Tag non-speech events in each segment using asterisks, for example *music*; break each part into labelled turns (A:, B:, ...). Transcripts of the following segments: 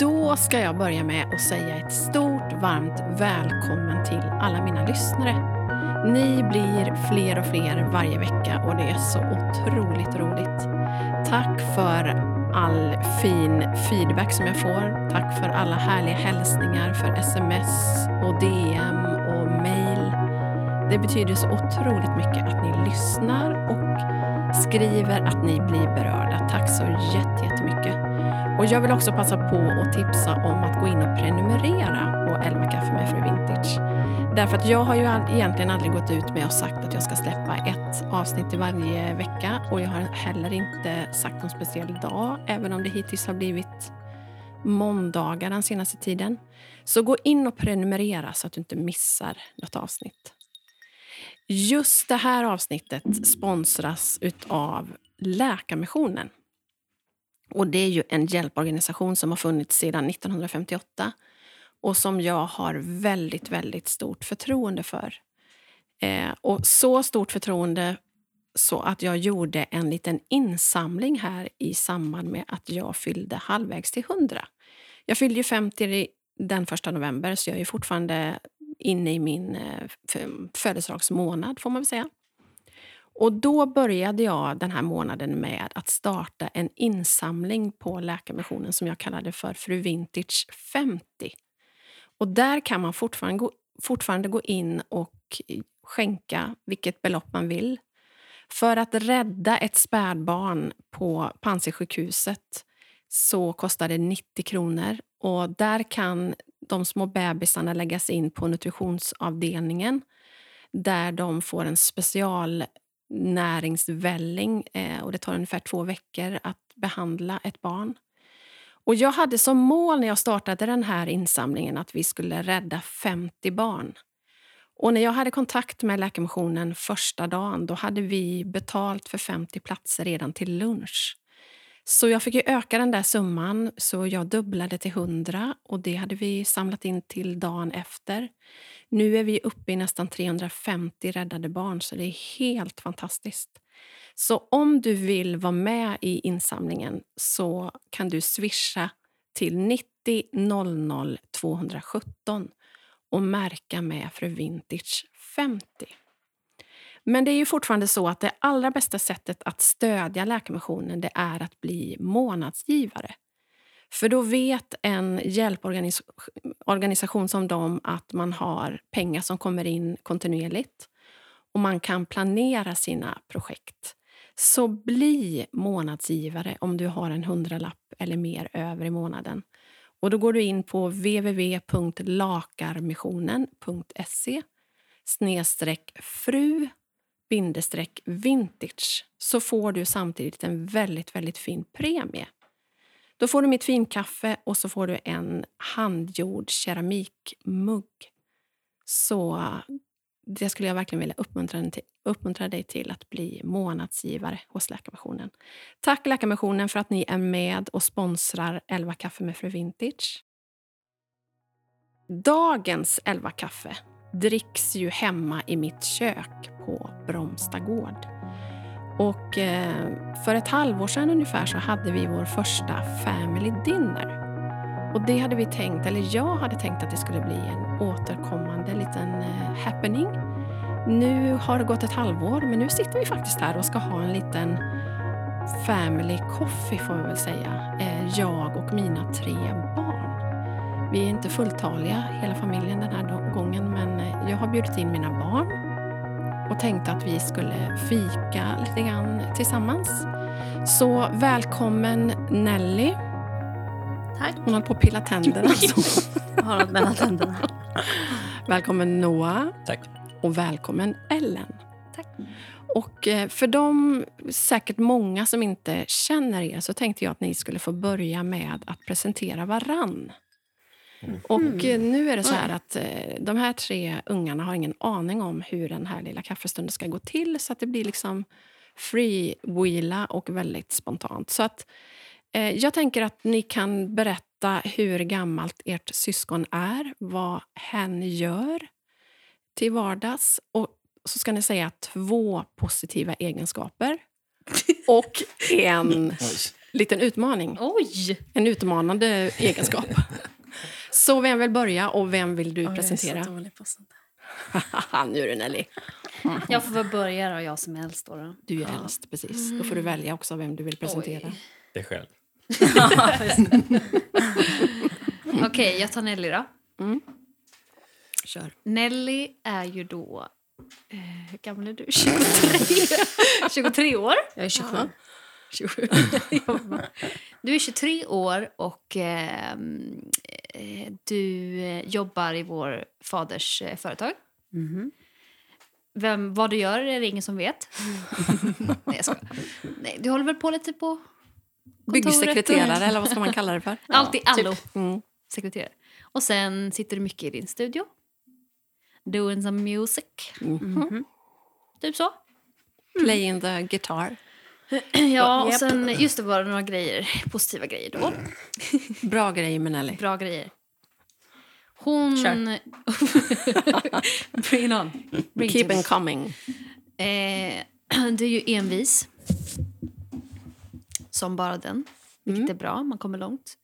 A: Då ska jag börja med att säga ett stort varmt välkommen till alla mina lyssnare. Ni blir fler och fler varje vecka och det är så otroligt roligt. Tack för all fin feedback som jag får. Tack för alla härliga hälsningar, för sms och DM och mail. Det betyder så otroligt mycket att ni lyssnar och skriver att ni blir berörda. Tack så jätte- jättemycket. Och jag vill också passa på att tipsa om att gå in och prenumerera på 11 kaffe med Fru Vintage. Därför att jag har ju all- egentligen aldrig gått ut med och sagt att jag ska släppa ett avsnitt i varje vecka och jag har heller inte sagt någon speciell dag, även om det hittills har blivit måndagar den senaste tiden. Så gå in och prenumerera så att du inte missar något avsnitt. Just det här avsnittet sponsras av Läkarmissionen. Och det är ju en hjälporganisation som har funnits sedan 1958 och som jag har väldigt, väldigt stort förtroende för. Eh, och så stort förtroende så att jag gjorde en liten insamling här i samband med att jag fyllde halvvägs till 100. Jag fyllde ju 50 i- den 1 november, så jag är fortfarande inne i min eh, f- födelsedagsmånad, får man väl säga. Och då började jag den här månaden med att starta en insamling på Läkarmissionen som jag kallade för Fru Vintage 50. Och där kan man fortfarande gå, fortfarande gå in och skänka vilket belopp man vill. För att rädda ett spädbarn på Panzisjukhuset så kostar det 90 kronor. Och där kan de små bebisarna läggas in på nutritionsavdelningen där de får en special näringsvälling eh, och det tar ungefär två veckor att behandla ett barn. Och jag hade som mål när jag startade den här insamlingen att vi skulle rädda 50 barn. Och när jag hade kontakt med Läkarmissionen första dagen då hade vi betalt för 50 platser redan till lunch. Så jag fick ju öka den där summan, så jag dubblade till 100 och det hade vi samlat in till dagen efter. Nu är vi uppe i nästan 350 räddade barn, så det är helt fantastiskt. Så om du vill vara med i insamlingen så kan du swisha till 90 00 217 och märka med Fru Vintage 50. Men det är ju fortfarande så att det allra bästa sättet att stödja Läkarmissionen det är att bli månadsgivare. För då vet en hjälporganisation som dem att man har pengar som kommer in kontinuerligt och man kan planera sina projekt. Så bli månadsgivare om du har en hundralapp eller mer över i månaden. Och Då går du in på www.lakarmissionen.se snedstreck fru bindestreck vintage så får du samtidigt en väldigt, väldigt fin premie. Då får du mitt finkaffe och så får du en handgjord keramikmugg. Så det skulle jag verkligen vilja uppmuntra, den till, uppmuntra dig till att bli månadsgivare hos Läkarmissionen. Tack Läkarmissionen för att ni är med och sponsrar 11 kaffe med Fru Vintage. Dagens 11 kaffe dricks ju hemma i mitt kök på Bromsta gård. Och eh, för ett halvår sedan ungefär så hade vi vår första family dinner. Och det hade vi tänkt, eller jag hade tänkt att det skulle bli en återkommande liten eh, happening. Nu har det gått ett halvår, men nu sitter vi faktiskt här och ska ha en liten family coffee får vi väl säga. Eh, jag och mina tre barn. Vi är inte fulltaliga, hela familjen, den här gången men eh, jag har bjudit in mina barn och tänkte att vi skulle fika lite grann tillsammans. Så välkommen Nelly.
B: Tack.
A: Hon håller på att pilla tänderna. Så.
B: Jag har något mellan tänderna.
A: Välkommen Noah
C: Tack.
A: och välkommen Ellen.
B: Tack.
A: Och eh, för de, säkert många som inte känner er, så tänkte jag att ni skulle få börja med att presentera varann. Och eh, nu är det så här att eh, de här tre ungarna har ingen aning om hur den här lilla kaffestunden ska gå till, så att det blir liksom freewheela och väldigt spontant. Så att eh, jag tänker att ni kan berätta hur gammalt ert syskon är, vad hen gör till vardags och så ska ni
C: *laughs*
A: säga två positiva egenskaper och en
C: Oj.
A: liten utmaning.
B: Oj!
A: En utmanande egenskap. Så vem vill börja och vem vill du
C: Ja, jag är så
A: presentera?
C: dålig på sånt där.
A: *laughs* nu är det Nelly.
B: Jag får väl börja då, jag som är äldst. Då, då.
A: Du är äldst, precis. Då får
C: Mm.
A: du välja också vem du vill presentera.
B: Oj.
D: Det själv.
B: Ja, just det. Okej, jag tar Nelly då.
A: Kör.
B: Nelly är ju då... Eh, hur gammal är du? *laughs* 23, 23 år.
C: Jag är 27.
A: Jaha.
B: Du är 23 år och eh, mm, eh, du eh, jobbar i vår faders eh, företag.
C: Mhm.
B: Vem, vad du gör är det ingen som vet. Nej, jag skojar. Nej, du håller väl på lite på kontoret?
A: Byggsekreterare, eller vad ska man kalla det
C: *laughs*
A: för?
B: Allt i allo.
A: Mm.
B: Sekreterare. Och sen sitter du mycket i din studio. Doing some music.
C: Mhm.
B: Typ så.
A: Playing the guitar.
B: Ja, och
C: Japp.
B: sen just det var det några grejer, positiva grejer då.
A: Bra grejer med Nelly.
B: Bra grejer. Hon...
C: Kör.
B: *laughs* Bring it on. Bring it
A: Keep
B: to
A: and
B: us.
A: coming.
B: Eh, *clears throat* du är ju envis. Som bara den. Vilket
A: Mm.
B: är bra, man kommer långt.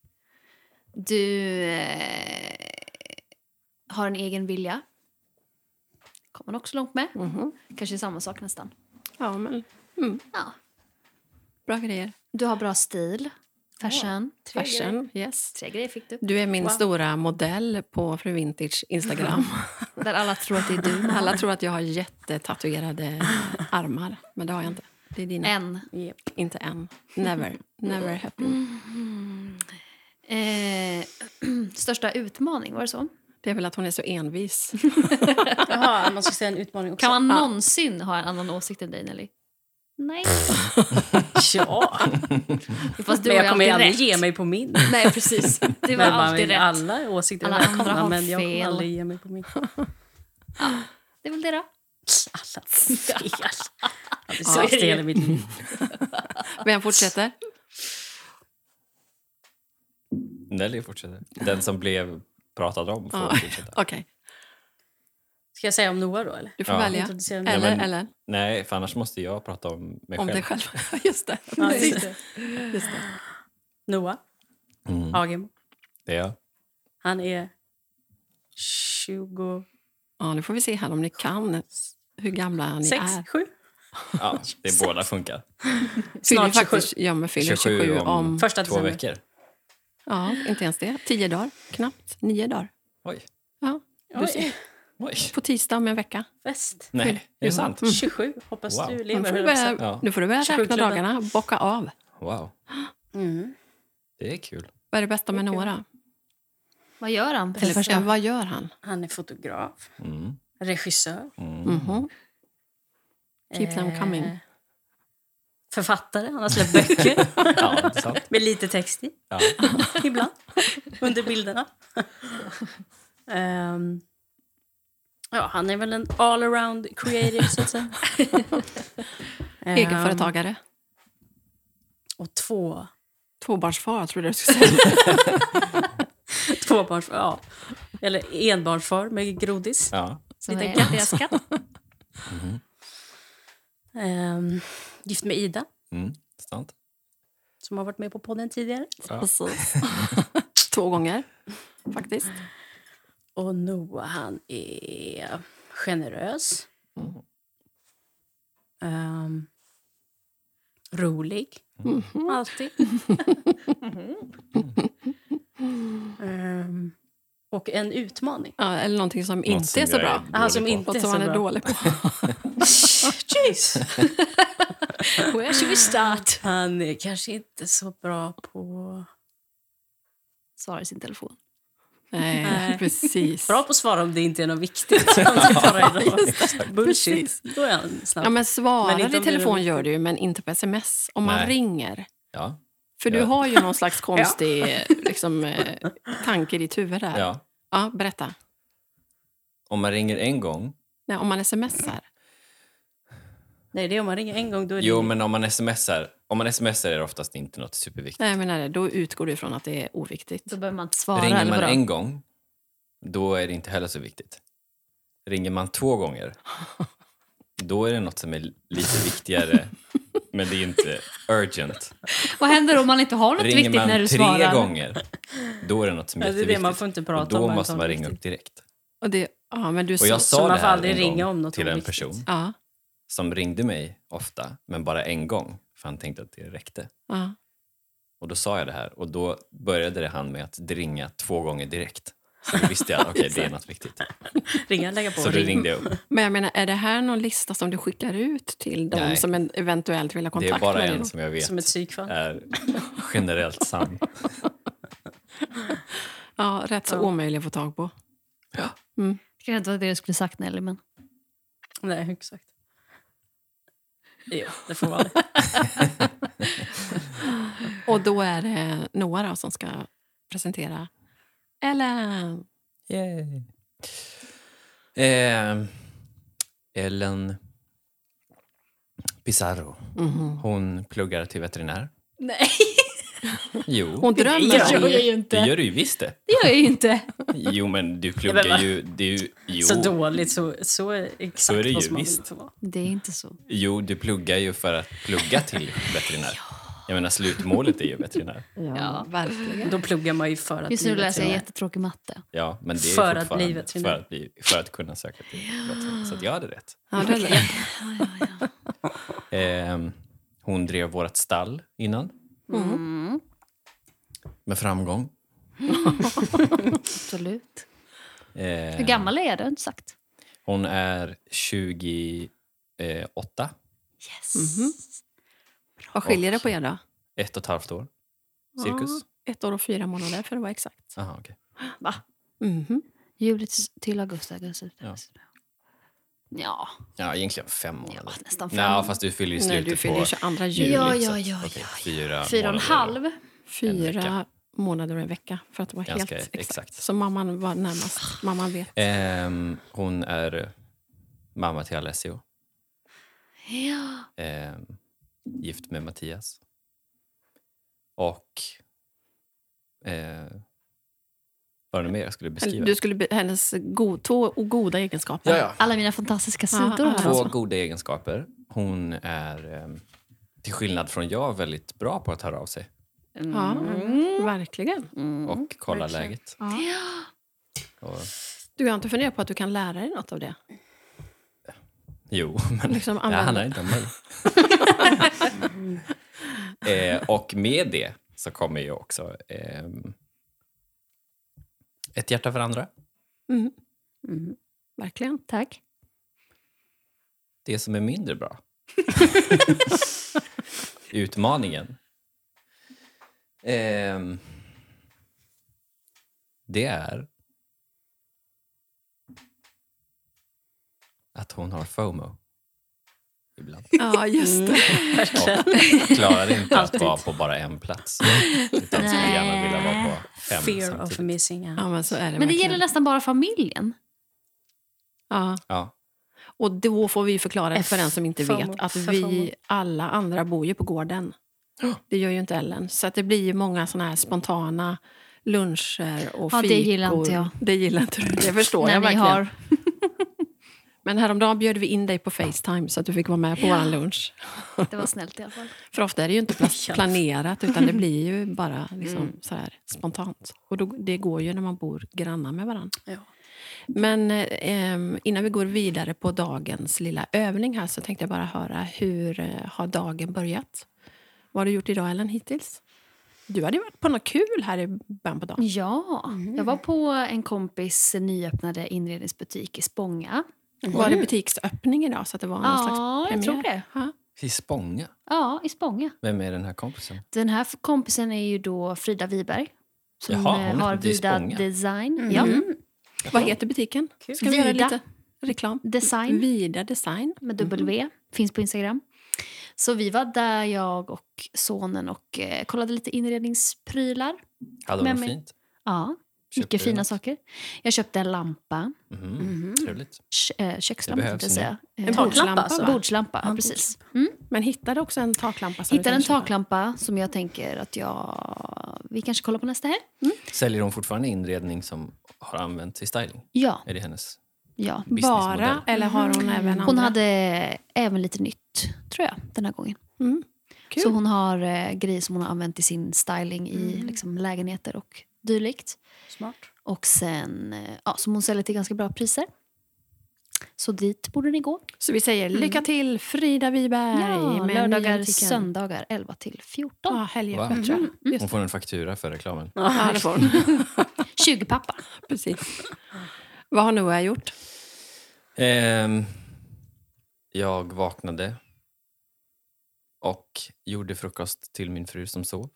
B: Du eh, har en egen vilja. kommer man också långt med.
A: Mhm.
B: Kanske samma sak nästan.
A: Ja, men mm.
B: Ja.
A: bra grejer.
B: Du har bra stil, fashion.
C: Tre grejer.
A: Fashion, yes.
B: Tre grejer fick du.
A: Du är min
C: Wow.
A: stora modell på Fru Vintage
C: *laughs*
A: Instagram.
B: Där alla tror att det är du.
A: Alla tror att jag har
C: *laughs*
A: jättetatuerade armar, men det har jag inte. Det är dina.
B: En.
A: Japp, Inte än. Never. Never
C: Mm.
A: happen.
B: Eh, *clears throat* största utmaning, var det så?
A: Det är väl att hon är så envis.
C: *laughs* Jaha, man ska säga en utmaning också.
B: Kan man någonsin ha en annan åsikt än dig, Nelly? Nej.
C: *laughs* Ja,
B: Fast du
C: men
B: har
C: jag
B: ju
C: kommer
B: alltid
C: aldrig
B: rätt.
C: ge mig på min.
B: Nej, precis. Du har
C: Men bara,
B: alltid rätt.
C: Alla är åsikter är
B: Alla andra
C: välkomna,
B: har
C: men jag kommer
B: fel.
C: aldrig ge mig på min.
B: Det är väl det då.
C: Alla fel. Ja, det
A: Ja,
C: sägs
A: det är
C: det hela mitt liv.
A: Vem fortsätter?
D: Nelly fortsätter. Den som blev pratad om får
A: Ja.
D: fortsätta.
A: Okej,
C: Ska jag säga om Noah då? Eller?
A: du får
D: Ja.
A: välja.
C: Introducera mig.
A: Eller,
D: Ja, men-
A: eller
D: Nej, för annars måste jag prata om mig
A: om
D: själv.
A: dig själv. *laughs* Just det.
C: Ja, just det.
A: Just det.
C: Noah
D: Mm,
C: Agemo.
D: det är jag.
C: Han är 20...
A: Ja, nu får vi se här om ni kan hur gamla ni
C: Sex,
A: är.
C: sju?
A: *laughs*
D: Ja, det är båda funkar.
A: Fyller
C: Snart 27.
A: faktiskt, ja, men fyller 27,
D: 27
A: om,
D: om-
C: Första
D: Två
C: december.
D: veckor.
A: Ja, inte ens det. Tio dagar, knappt. Nio dagar.
D: Oj.
A: Ja,
C: Oj,
D: Oj.
A: på tisdag om en vecka.
C: Fest.
D: Nej,
A: Mm.
D: är det sant?
C: 27. Hoppas
D: Mm. Wow.
C: du
A: Nu
C: lever.
A: får du
C: höll jag på att säga.
A: börja,
D: Ja.
A: nu får du börja räkna
C: 27 klubben.
A: dagarna, bocka av.
D: Wow,
C: Mm.
D: det är kul.
A: Vad är det bästa med
C: Okej.
A: Nora?
B: Vad gör han?
A: Eller ja, vad gör han?
C: Han är fotograf,
D: Mm,
C: regissör.
D: mm.
A: Mhm. Keep them coming.
C: Författare. Eh, Han har släppt
A: *laughs*
C: böcker
D: Ja, det är sant.
C: med lite text i
D: Ja.
C: ibland
A: *laughs*
C: under bilderna. Ehm, ja, han är väl en all-around creative, så att säga.
A: *laughs*
C: Ehm,
A: Egenföretagare.
C: Och två
A: Tvåbarnsfar, trodde jag du skulle
C: *laughs*
A: säga.
C: tvåbarnsfar. Ja. Eller enbarnsfar med grodis.
D: Ja.
B: Som
C: Liten
B: är deras katt.
C: Ehm, gift med Ida,
D: Mm, sant.
C: som har varit med på podden tidigare.
D: Ja.
A: Precis. *laughs* Två gånger, faktiskt.
C: Och Noah, han är generös.
D: Mm.
C: Ehm, rolig.
A: Mm-hmm.
C: Alltid. Ehm, och en utmaning.
A: Ja, eller någonting som inte
D: som
A: är så
D: jag är
A: bra. Alltså,
D: dålig
C: Han som
D: på.
C: inte
A: Något
C: är
A: som
C: så
A: han är
C: bra. *laughs*
A: dålig på. Ah,
C: Jeez.
B: Where should we start?
C: Han är kanske inte så bra på...
B: Svarar i sin telefon.
A: Nej,
C: Nej.
A: precis.
C: Bra på att svara om det inte är något
A: *laughs*
C: viktigt. Han typ bara är bra.
A: Precis.
C: Bullshit. Då är han
A: Ja,
C: snabb.
A: men svarar
C: Men inte
A: i
C: om det är
A: telefon
C: roligt.
A: gör du ju, men inte på sms. Om man
D: Nej.
A: ringer.
D: Ja.
A: För du
D: Ja.
A: har ju någon
C: *laughs*
A: slags konstig liksom, eh, tanke i ditt huvud där. Ja.
D: ja.
A: berätta.
D: Om man ringer en gång.
A: Nej, om man smsar.
C: Nej, det är om man ringer en gång. Då är det
D: Jo, men om man smsar. Om man smsar är det oftast inte något superviktigt.
A: Nej, men nej, då utgår du ifrån att det är oviktigt.
B: Då behöver man inte svara.
D: Ringer
B: eller
D: man
B: vadå?
D: en gång, då är det inte heller så viktigt. Ringer man två
C: *laughs*
D: gånger, då är det något som är lite viktigare. men det är inte urgent.
B: Vad händer om man inte har något
D: Ringer
B: viktigt
D: man
B: när du
D: tre
B: svarar?
D: gånger, då är det något som är
C: Ja, det är det,
D: jätteviktigt.
C: man får inte
D: och
C: prata om
D: då
C: allt
D: måste
C: som
D: man
C: är
D: ringa upp
C: viktigt.
D: direkt.
A: Och, det, ja, men du
D: Och jag
A: så-
D: sa
C: man
D: det
C: får
D: här
C: aldrig
D: en
C: ringa
D: gång
C: om något
D: till en
C: oviktigt.
D: person
A: ja,
D: som ringde mig ofta, men bara en gång, för han tänkte att det räckte.
A: ja.
D: Och då sa jag det här och då började det han med att ringa två gånger direkt. Så då
C: *laughs*
D: visste jag att okej, det är något viktigt.
C: Ringa, lägga på.
D: Så då
C: ring.
D: ringde jag upp.
A: Men jag menar, är det här någon lista som du skickar ut till de
D: Nej.
A: som en- eventuellt vill ha
D: Det är
A: kontakt med
D: bara
A: dig?
D: en
A: då?
D: som jag vet
C: Som ett psykfall.
D: är generellt sann.
A: Ja, rätt så
C: Ja.
A: omöjlig att få tag på.
B: Det kanske inte var det du skulle sagt Nelly, men
C: Nej, exakt. Jo, det får vara det.
A: Och då är det Noah då, som ska presentera Ellen.
D: Yay. Eh, Ellen Pizarro. Hon pluggar till veterinär.
B: nej,
D: *laughs* Jo,
A: Hon drömmer
C: gör
A: om...
C: jag
B: ju
D: det gör du ju visst det.
B: Det gör jag ju inte.
D: Jo, men du
C: Ja, men
D: pluggar
C: va?
D: ju... Du, *laughs* jo,
C: Så dåligt, så, så är exakt
D: Så är det ju,
C: vad som man vill
D: visst.
C: få vara.
B: *laughs* Det är inte så.
D: jo, du pluggar ju för att plugga till veterinär. Jag menar, slutmålet är ju veterinär.
B: Ja.
A: verkligen.
C: Då pluggar man ju för att
B: Just nu
C: bli
B: läser jag
C: veterinär.
B: jättetråkig matte.
D: Ja, men det är
C: För att
D: fortfarande
C: bli veterinär.
D: För att, bli, för att kunna söka till veterinär. Så att jag hade rätt.
A: Ja, det är det.
D: Ehm, hon drev vårt stall innan,
B: Mm,
D: med framgång.
B: absolut.
D: Ehm,
B: Hur gammal är jag? Det har jag inte sagt.
D: Hon är 28,
B: Yes.
A: Mhm. Vad skiljer det på er då?
D: ett och ett halvt år. Cirkus?
A: Ja, ett år och fyra månader för att vara
B: Ah.
A: exakt.
D: Aha, okej.
A: Mhm.
B: Juli till- till augusti, augusti.
D: Ja.
B: Ja. ja,
D: Ja, egentligen fem månader.
B: nästan fem.
D: Nej, fast du fyller ju
A: Nej,
D: slutet
A: du fyller ju
D: på
A: 22
D: juli.
A: juli.
B: Ja, ja,
D: så att-
B: ja,
D: okej,
B: ja, ja.
D: Fyra,
B: Fyra och en
D: månader.
B: halv.
A: Fyra
D: vecka.
A: månader och en vecka för att vara
D: Ganska
A: helt
D: exakt.
A: exakt. Så mamman var närmast. Mamman vet.
D: Ehm, hon är mamma till Alessio.
B: Ja.
D: Ehm, gift med Mattias. Och... Eh, vad var det mer jag skulle beskriva?
A: Du skulle be- hennes go- två goda egenskaper.
D: Ja, ja.
B: Alla mina fantastiska sidor.
A: Ja, ja.
B: här.
D: Två goda egenskaper. Hon är, ehm, till skillnad från jag, väldigt bra på att höra av sig
A: Ja, verkligen.
B: Mm.
D: och kolla
C: verkligen.
D: läget.
B: Ja.
D: Och,
A: Du har inte funderat på att du kan lära dig något av det?
D: jo, *laughs* men
A: Liksom
D: det
A: använda.
D: handlar inte om mig. eh, och med det så kommer ju också ehm, ett hjärta för andra.
A: Mm,
C: Mm.
A: verkligen.
B: Tack.
D: Det som är mindre bra. Utmaningen. Ehm, det är att hon har FOMO. Ibland.
A: Ja, just det.
D: Och klarar inte att
C: Alltid.
D: vara på bara en plats. Utan skulle gärna vilja vara på fem
C: Fear of
D: samtidigt.
C: missing out.
A: Ja, men så är det
B: Men det
A: verkligen.
B: gäller nästan bara familjen.
A: Ja.
D: Ja,
A: Och då får vi förklara
C: F-
A: för den som inte
C: FOMO.
A: vet att
C: FOMO.
A: vi alla andra bor ju på gården. Det gör ju inte Ellen. Så att det blir ju många såna här spontana luncher och
B: Ja,
A: fikor.
B: det gillar inte jag.
A: Det gillar inte du. Det förstår
B: när
A: jag
B: ni
A: verkligen.
B: har...
A: Men häromdagen bjöd vi in dig på Facetime så att du fick vara med på vår lunch.
B: *laughs* Det var snällt i alla fall.
A: För ofta är det ju
B: *laughs*
A: inte pla- planerat utan det blir ju bara liksom
B: Mm.
A: så här spontant. Och då, det går ju när man bor grannar med varandra.
C: Ja.
A: Men eh, em, innan vi går vidare på dagens lilla övning här så tänkte jag bara höra hur eh, har dagen börjat? Vad har du gjort idag Ellen hittills? Du hade ju varit på något kul här i början på dagen.
B: Ja, Mm. jag var på en kompis nyöppnade inredningsbutik i Spånga.
A: Var det butiksöppning idag så att det var någon slags
B: Mm. Ja, jag
A: premiär?
B: tror det.
A: Ja.
D: i Spånga.
B: Ja, i Spånga.
D: Vem är den här kompisen?
B: Den här f- kompisen är ju då Frida Wiberg. Som
D: Jaha, hon
B: eh, har
D: bodde i
B: Vida
D: Spånga.
B: Design.
C: Mm.
B: Ja,
A: Vad heter butiken?
C: Kul.
A: Ska vi göra
B: Vida.
A: lite reklam?
B: Design
A: Vida Design.
B: med W. Finns på Instagram. Så vi var där, jag och sonen, och eh, kollade lite inredningsprylar.
D: Hade
B: Men-
D: hon fint?
B: Ja,
D: Köpte
B: mycket
D: du
B: fina
D: något?
B: saker. Jag köpte en lampa.
D: Mhm,
C: Mhm.
D: Trevligt.
B: Kö- eh, kökslampa
D: Det
B: tänkte jag
D: behövs
B: säga.
A: En
B: Eh,
A: taklampa
C: alltså.
A: va?
B: Bordslampa, ja,
C: Ja,
B: precis. Mm.
A: Men hittade också en taklampa. som du
B: Hittade en
A: tänkte köpa.
B: taklampa som jag tänker att jag... Vi kanske kollar på nästa helg?
D: Säljer hon fortfarande inredning som har använts i styling?
B: Ja.
D: Är det hennes?
B: ja.
D: businessmodell.
A: Bara,
B: Mm.
A: eller har hon även andra?
B: Hon hade även lite nytt, tror jag, den här gången.
A: Mm. Kul.
B: Så hon har eh, grejer som hon har använt i sin styling i
C: Mm.
B: liksom, lägenheter och dylikt.
C: Smart.
B: Och sen, eh, ja, som hon säljer till ganska bra priser. Så dit borde ni gå.
A: Så vi säger lycka till Frida Wiberg
B: Mm. Ja,
A: med
B: lördagar, Mm.
A: nyartikeln.
B: söndagar 11 till 14.
A: Ja, helgen
D: Wow.
A: tror jag. Just
D: Hon får en faktura för reklamen.
A: ja,
C: *laughs*
A: det får hon.
B: 20 pappa.
A: Precis. Vad har Noah gjort?
D: Ehm, jag vaknade och gjorde frukost till min fru som sov.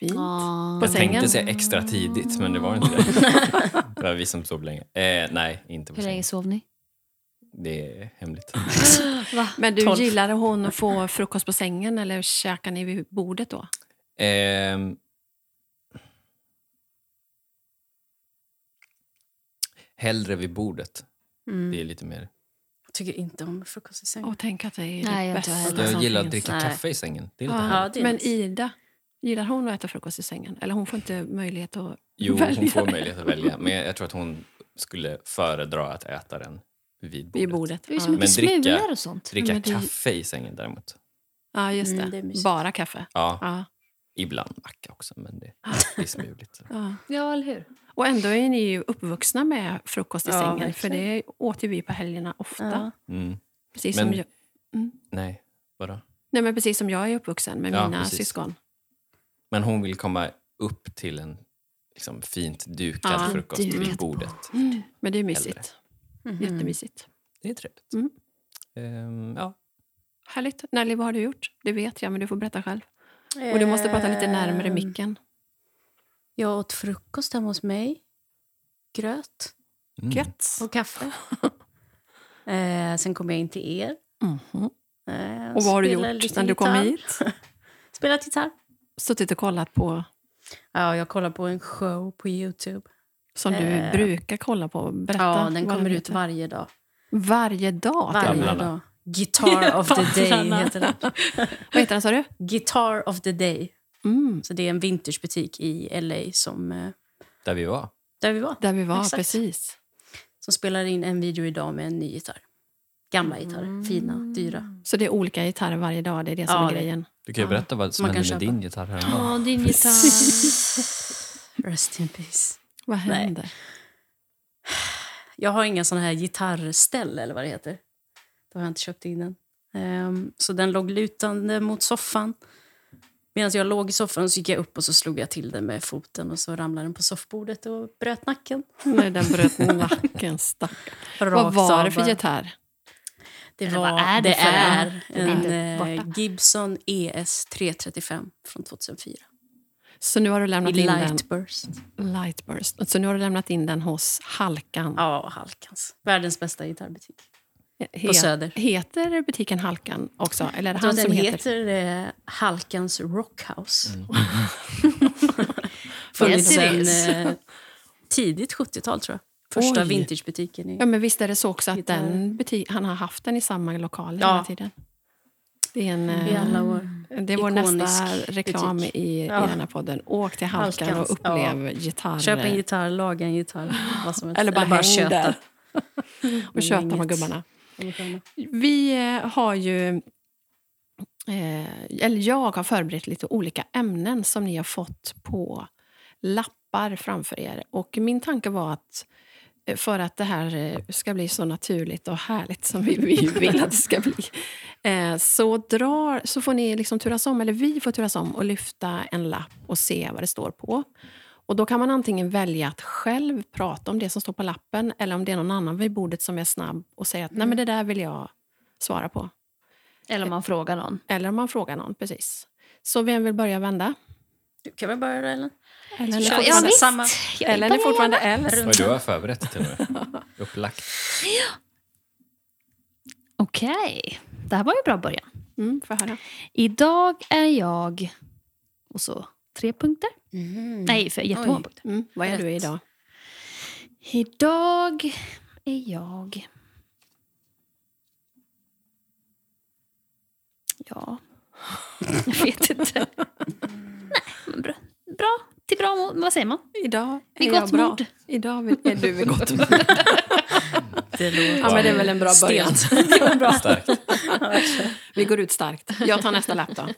A: Fint.
B: Ah.
A: På
D: jag
A: sängen?
D: tänkte säga extra tidigt, men det
B: *laughs*
D: var inte det. det var vi som sov länge. Eh, nej, inte på
B: Hur länge
D: sängen.
B: sov ni?
D: Det är
B: *laughs*
D: hemligt.
B: Va?
A: Men du,
C: Tolv.
A: gillade hon att få frukost på sängen eller käkar ni vid bordet då?
D: Ehm. Hellre vid bordet. Det är lite mer...
C: Jag Mm. tycker inte om frukost i sängen.
A: Och tänk att det är
B: Nej,
A: det
B: jag inte
A: bästa
B: heller.
A: som
D: Jag gillar att
A: finns.
D: dricka
C: Nej.
D: kaffe i sängen. Det är lite
A: Ja,
D: härligt.
C: Ja, det är
A: Men
C: nice.
A: Ida, gillar hon att äta frukost i sängen? Eller hon får inte möjlighet att
D: Jo,
A: välja?
D: hon får möjlighet att välja. Men jag tror att hon skulle föredra att äta den vid bordet.
A: Vid bordet.
B: Det är ju så mycket
D: Men dricka-
B: smulor och sånt.
D: Dricka
A: Men det-
D: kaffe i sängen däremot.
A: Ja, just det.
C: Mm, det är mysigt.
A: Bara kaffe.
D: Ja,
A: Ja,
D: ibland macka också, men det,
A: Ah.
D: det är smuligt.
A: ja.
B: Ja, eller hur?
A: Och ändå är ni ju uppvuxna med frukost i
C: Ja,
A: sängen. För
C: verkligen.
A: det åt ju vi på helgerna ofta.
C: Ja.
D: Mm.
A: Precis,
D: Men-
A: som jag,
D: Nej, vadå?
A: nej, men precis som jag är uppvuxen med
D: Ja,
A: mina
D: precis.
A: syskon.
D: Men hon vill komma upp till en liksom, fint dukad
A: Ja,
D: frukost vid
B: dukat
D: bordet.
A: Men det är mysigt.
C: Mhm.
A: Jättemysigt.
D: Det är trevligt.
A: Mm.
D: Ehm, ja.
A: Härligt. Nelly, vad har du gjort? Det vet jag, men du får berätta själv. Och du måste prata lite närmare
C: Ehm,
A: micken.
D: Mm.
C: Jag åt frukost hemma hos mig. Gröt
D: Mm.
A: Gött.
C: och kaffe. *laughs* eh, sen kom jag in till er.
A: Mhm.
C: Eh,
A: Och vad har du
C: spelade
A: gjort
C: lite
A: när du kom
C: gitarr.
A: hit?
C: Spelat gitarr.
A: Suttit och kollat på,
C: Ja, jag kollar på en show på Youtube.
A: som du
C: Eh.
A: brukar kolla på. Berätta.
C: Ja, den
A: vad
C: kommer ut
A: heter.
C: varje dag.
A: varje dag. till och
C: Varje
A: med.
D: Gamlarna.
C: dag. *laughs* Guitar of the day
A: Gamlarna.
C: heter den.
A: Vad heter den, sa du?
C: Guitar of the day.
A: Mm,
C: Så det är en vintagebutik i LA som, eh,
D: Där vi var.
C: där vi var.
A: där vi var,
C: Exakt.
A: precis.
C: Som spelar in en video idag med en ny gitarr. Gamla gitarrer. Fina, dyra.
A: Så det är olika gitarrer varje dag, det är det som
C: Ja,
A: är
C: det-
A: grejen.
D: Du kan ju berätta vad som
C: Man kan
D: hände med
C: köpa.
D: din gitarr häromdagen.
B: din gitarr.
C: Rest in peace.
A: Vad
C: Nej.
A: händer?
C: Jag har inga såna här gitarrställ eller vad det heter. Då har jag inte köpt in den. Ehm, så den låg lutande mot soffan. Medan jag låg i soffan så gick jag upp och så slog jag till den med foten och så ramlade den på soffbordet och bröt nacken.
A: När den
C: *laughs*
A: bröt nacken, stack. Vad
C: Rakt
A: var
C: av
A: det för
C: bara.
A: gitarr?
C: Det,
B: Eller
C: var,
B: vad är det
C: det,
B: för den?
C: är
B: Den är
C: en
B: inte
C: eh,
B: borta.
C: Gibson E ES 335 från 2004.
A: Så nu har du
C: I
A: lämnat in den.
C: Lightburst.
A: Lightburst. Så nu har du lämnat in den hos Halkan.
C: Ja, Halkans. Världens bästa gitarrbutik.
A: He-
C: På Söder.
A: Heter butiken Halkan också? Eller är det
C: Jag tror
A: han
C: att
A: som
C: den
A: heter?
C: heter eh, Halkans Rockhouse.
A: Yes,
C: *laughs* Funnits
A: it
C: sedan
A: is.
C: eh, tidigt 70-tal, tror jag. Första
A: Oj.
C: vintagebutiken. I.
A: Ja, men visst är det så också att
C: Gitarr.
A: den buti- han har haft den i samma lokal
C: Ja.
A: hela tiden? Det är, en,
C: I
A: eh,
C: alla år.
A: det är vår nästa
C: ikonisk
A: reklam
C: butik.
A: i,
C: Ja.
A: i den här podden. Åk till Halkan
C: Halkans,
A: och upplev gitarrer.
C: Köp en gitarr, laga en gitarr. Vad som helst.
A: Eller bara, häng
C: köta.
A: där. och
C: Men
A: köta med
C: inget-
A: gubbarna.
C: inget annat.
A: Vi eh, har ju... Eh, eller jag har förberett lite olika ämnen som ni har fått på lappar framför er. Och min tanke var att eh, för att det här eh, ska bli så naturligt och härligt som vi, vi vill att det ska bli eh, så, drar, så får ni liksom turas om, eller vi får turas om och lyfta en lapp och se vad det står på. Och Då kan man antingen välja att själv prata om det som står på lappen eller om det är någon annan vid bordet som är snabb och säger att nej men det där vill jag svara på.
B: Eller om man frågar någon.
A: Eller om man frågar någon. precis. Så vem vill börja vända?
C: Du kan väl börja Ellen?
A: Ellen är
C: Kör.
A: fortfarande,
C: Ja, visst.
B: Samma. Jag är
A: Ellen är
B: bara-
A: fortfarande äldst.
D: Oj, du har förberett till och med.
A: *laughs*
D: Upplagt.
B: Okej. Det här var ju bra början.
A: Mm, får jag höra.
B: Idag är jag... Och så tre punkter.
C: Mm.
B: Nej, för jättemånga
C: Oj.
B: punkter.
A: Mm, vad är du idag?
B: Idag är jag... Ja, jag vet inte. Nej, men bra. bra. Till bra mod. Vad säger man?
A: Idag är
B: Vid
A: jag
B: gott
A: bra.
B: mod.
D: *laughs*
A: Idag vill- är du vid gott mod.
C: Det låter
A: Ja, men det är väl en bra början.
C: stelt.
A: Det var bra.
D: Starkt.
A: Vi går ut starkt. Jag tar nästa lapp *laughs* då.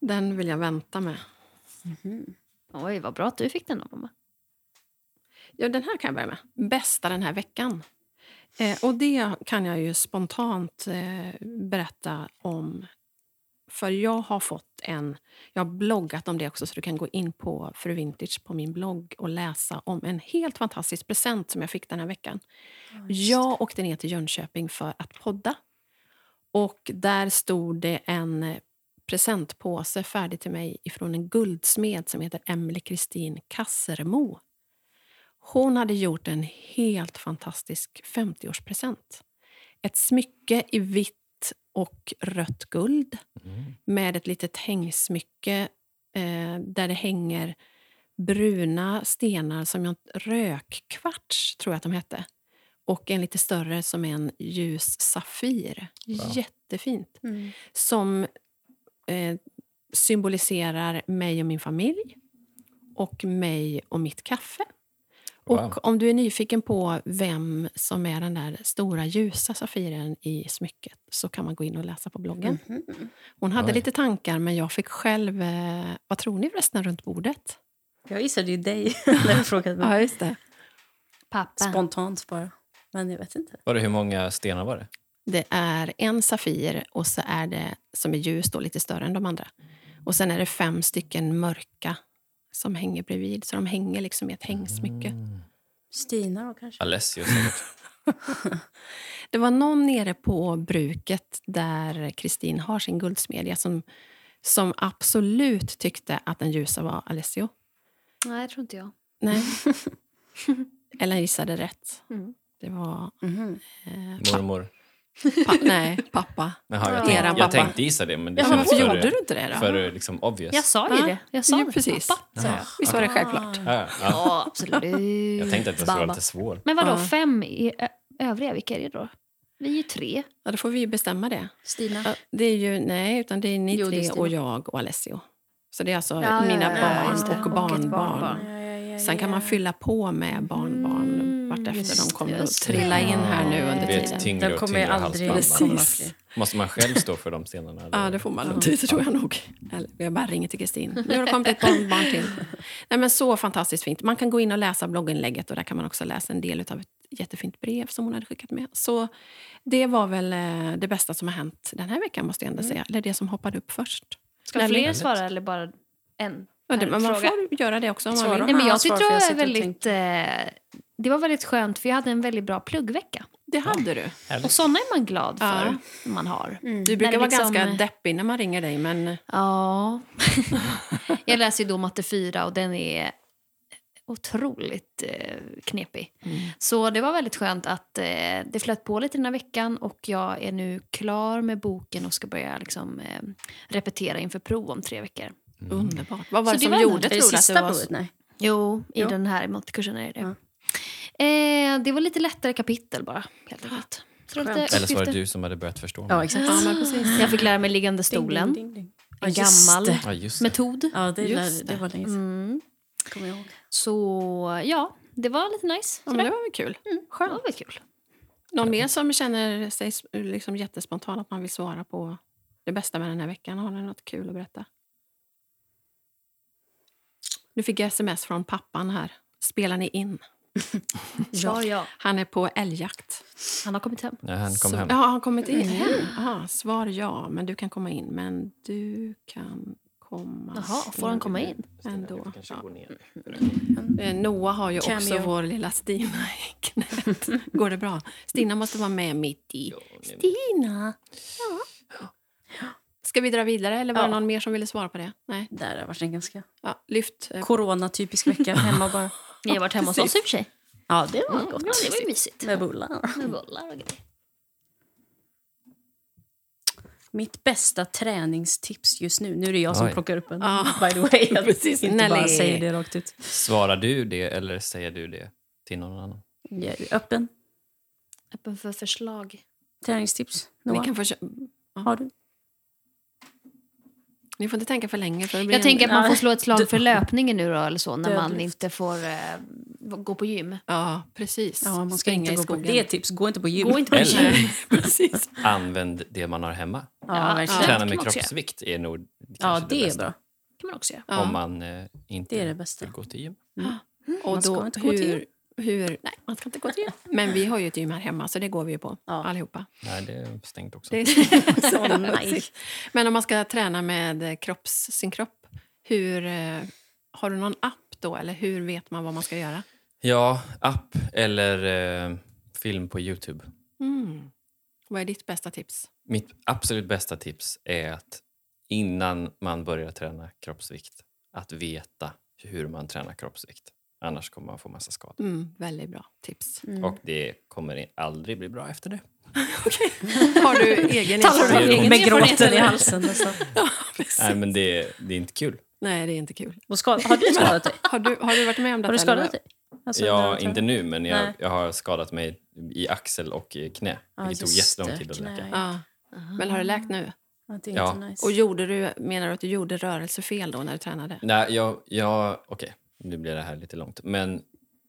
A: Den vill jag vänta med.
B: Oj, vad bra att du fick den då, mamma.
A: Ja, den här kan jag börja med. Bästa den här veckan. Eh, och det kan jag ju spontant eh, berätta om. För jag har fått en... Jag har bloggat om det också, så du kan gå in på Fru Vintage på min blogg och läsa om en helt fantastisk present som jag fick den här veckan. Jag åkte ner till Jönköping för att podda. Och där stod det en eh, presentpåse färdig till mig ifrån en guldsmed som heter Emelie Kristin Kassermo. Hon hade gjort en helt fantastisk 50-årspresent. Ett smycke i vitt och rött guld
D: Mm.
A: med ett litet hängsmycke eh, där det hänger bruna stenar som jag, rökkvarts, tror jag att de hette. Och en lite större som är en ljus safir.
D: Wow.
A: Jättefint som eh, symboliserar mig och min familj och mig och mitt kaffe.
D: Wow.
A: Och om du är nyfiken på vem som är den där stora ljusa safiren i smycket så kan man gå in och läsa på bloggen. Hon hade
D: Oj.
A: lite tankar, men jag fick själv... Eh, vad tror ni förresten runt bordet?
C: Jag gissade ju dig *laughs* när jag frågade mig.
A: just det.
B: Pappa.
C: Spontant bara. Men jag vet inte.
D: Var det, hur många stenar var det?
A: Det är en safir och så är det som är ljus då, lite större än de andra. Och sen är det fem stycken mörka som hänger bredvid. Så de hänger liksom i ett hängsmycke.
C: Stina då kanske?
D: Mm.
A: *laughs*
D: Alessio säkert.
A: Det var någon nere på bruket där Kristin har sin guldsmedja som, som absolut tyckte att den ljusa var Alessio.
B: Nej, det tror inte jag.
A: *laughs* Nej. Ellen gissade rätt.
B: Mm.
A: Det var
C: Mhm.
A: eh, pa,
D: Mormor.
A: pa, nej, pappa.
D: Jaha,
B: Ja.
D: jag, tänkte,
A: Eran
D: jag
A: pappa.
D: tänkte gissa det, men det
A: Ja, men varför gjorde
D: för,
A: du inte det då?
D: för liksom obvious.
B: Jag sa ju
A: Ja.
B: det. Jag sa
A: Ja,
B: det.
A: precis.
B: Pappa, sa jag.
D: Jaha.
A: Visst var det
D: Okej.
A: självklart?
C: Ah.
D: Ja, ja, ja.
B: Ja, absolut.
D: Jag tänkte att det skulle vara
B: Baba.
D: lite svår.
B: Men vadå,
A: Ja.
B: fem i ö- övriga? Vilka är det då? Vi är ju tre.
A: Ja, då får vi ju bestämma det.
C: Stina.
A: Ja, Det är ju, nej, utan det är ni
C: Jo, det är
A: tre
C: Stina.
A: och jag och Alessio. Så det är alltså
B: ja,
A: mina
B: ja,
C: just det.
A: barn och
B: Och ett
A: barnbarn.
B: barnbarn.
A: Sen kan man fylla på med barnbarn
B: Mm,
A: vartefter de
B: just
A: kommer
B: det,
A: att
B: just det.
A: trilla in här nu under
D: Det blir
A: tiden.
D: ett tyngre
C: De
D: och
C: kommer ju
D: tyngre
C: aldrig
D: halsband.
A: Precis.
C: komma fler.
D: Måste man själv stå för de stenarna? eller?
A: Ja, det får man nog tid tror jag nog. Eller, jag bara ringer till Kristin. Nu har det kommit ett barnbarn till. Nej, men så fantastiskt fint. Man kan gå in och läsa blogginlägget och där kan man också läsa en del av ett jättefint brev som hon hade skickat med. Så det var väl eh, det bästa som har hänt den här veckan måste jag ändå säga. Eller det som hoppade upp först.
B: Ska
A: Nej, men-
B: fler svara eller bara en?
A: Ja, det, men man
B: Fråga.
A: får göra det också om
C: Svara.
A: man vill.
B: Nej, men
C: Ja,
B: jag
C: svar,
B: tyckte
C: för
B: det
C: jag
B: var
C: satt och
B: väldigt... Eh, det var väldigt skönt, för jag hade en väldigt bra pluggvecka.
A: Det hade du.
B: Och såna är man glad för,
A: Ja. Mm.
B: när man har.
A: Du brukar
B: det
A: vara
B: liksom-
A: ganska deppig när man ringer dig, men eh,
B: Ja. jag läser ju då matte 4 och den är otroligt eh, knepig. Så det var väldigt skönt att eh, det flöt på lite den här veckan och jag är nu klar med boken och ska börja liksom, eh, repetera inför prov om tre veckor.
D: Mm.
A: underbart. Vad var det
B: Så det
A: som
B: var ändå-
A: gjorde,
C: Är det
A: tror du, att det
C: sista
A: var...
C: provet? Nej.
B: Jo, i
C: Ja.
B: den här mattekursen är det det. Eh, det var lite lättare kapitel bara, helt enkelt. Så lite
C: Skönt.
D: Eller så var det
B: uppgifter.
D: du som hade börjat förstå mig.
C: Ja, exakt.
A: Ja, men precis.
B: Jag fick lära mig liggande
C: Ding,
B: stolen,
C: ding, ding, ding. Ja,
B: en
C: just
B: gammal
C: det.
D: Ja, just det.
B: metod.
C: Ja, det,
A: Just
C: lär,
A: det.
C: det var länge sedan.
B: Mm.
C: Kommer jag ihåg.
B: Så ja, det var lite nice.
A: Ja, men det var väl kul.
B: Skönt. Det var kul.
A: Någon mer som känner sig s- liksom jättespontan att man vill svara på det bästa med den här veckan? Har ni något kul att berätta? Nu fick jag sms från pappan här. Spelar ni in?
B: Ja, ja.
A: Han är på älgjakt.
B: Han har kommit hem.
D: När han kom
A: Så-
D: hem.
A: Ja, har han kommit in. Aha, svar ja, men du kan komma in. Men du kan komma
B: Jaha, får han komma in?
A: Ändå. Ja.
D: ner.
A: Eh, Noah har ju också
C: Cameo.
A: vår lilla Stina i *laughs* knät. Går det bra? Stina måste vara med mitt i. Stina! Ska vi dra vidare eller var det
C: Ja.
A: någon mer som ville svara på det? Nej.
C: Där har varit en ganska
A: Ja, lyft. eh,
C: coronatypisk vecka hemma bara.
B: Ni har varit hemma hos oss i och för sig.
C: Ja, det var
B: Mm,
C: gott.
B: ja, det var ju mysigt.
C: Med bullar.
B: Med bollar och grejer.
C: Mitt bästa träningstips just nu. Nu är det jag som
D: Oj.
C: plockar upp en.
A: Ja.
C: *laughs* By the way. Jag
A: Precis,
C: inte
A: Nelly.
C: bara säger det rakt ut.
D: Svarar du det eller säger du det till någon annan?
C: Jag är öppen.
B: Öppen för förslag.
C: Träningstips.
A: Ni
C: Noah,
A: kan få kö-
C: har du?
A: Ni får inte tänka för länge. För det blir
B: Jag
A: en-
B: tänker att man får
C: Nej.
B: slå ett slag för löpningen nu då, eller så, när man
C: Dödlyft.
B: inte får eh, gå på gym.
A: Ja, precis.
C: Ja, man ska
A: Springa
C: inte
A: i
C: gå på
A: skogen.
C: det
A: *laughs*
C: är ett tips. Gå inte på gym.
B: Gå inte på gym.
D: Eller
A: precis.
D: använd det man har hemma.
C: Ja, verkligen.
A: det
D: Träna
B: kan
D: med
B: man också
D: kroppsvikt är nog
C: Ja,
D: kanske
C: det är
D: bästa.
C: bra.
B: kan man också göra.
A: Ja.
D: Om man eh, inte
C: Det är
D: *laughs*
C: det bästa.
D: vill gå till gym.
A: och
C: man
A: då,
C: ska inte gå till
A: hur, hur,
B: Nej, man ska inte gå till gym.
A: men vi har ju ett gym här hemma, så det går vi ju på
C: Ja.
A: allihopa.
D: Nej, det är stängt också.
A: Det är
C: Så nice.
A: Men om man ska träna med eh, kropps, sin kropp, hur, eh, har du någon app då? Eller hur vet man vad man ska göra?
D: Ja, app eller eh, film på Youtube.
A: Mm. Vad är ditt bästa tips?
D: Mitt absolut bästa tips är att innan man börjar träna kroppsvikt, att veta hur man tränar kroppsvikt. Annars kommer man få massa skador.
A: Mm, väldigt bra tips.
C: Mm.
D: Och det kommer aldrig bli bra efter det.
A: *laughs* Har du egen
C: Talar
D: om
A: erfarenhet?
D: egen
C: Med
B: erfarenhet,
C: gråten i
B: eller?
C: halsen. alltså? nästan.
D: Nej, men det, det är inte kul.
A: Nej, det är inte kul.
C: Och ska, har du skadat dig?
A: Har du, har du varit med om detta?
C: Har du
A: eller vad-
C: skadat dig? Alltså, när
D: Ja,
C: du-
D: inte nu, men jag,
C: Nej.
D: jag har skadat mig i axel och i knä.
C: Ja,
D: vilket tog
C: just
D: jättelång
C: det,
D: tid att
C: knä.
D: läka.
A: Ja. Men har det läkt nu?
C: Ja, det är
D: Ja.
C: inte nice.
A: Och gjorde du, menar du att du gjorde rörelsefel då när du tränade?
D: Nej, jag... jag Okej, nu blir det här lite långt. Men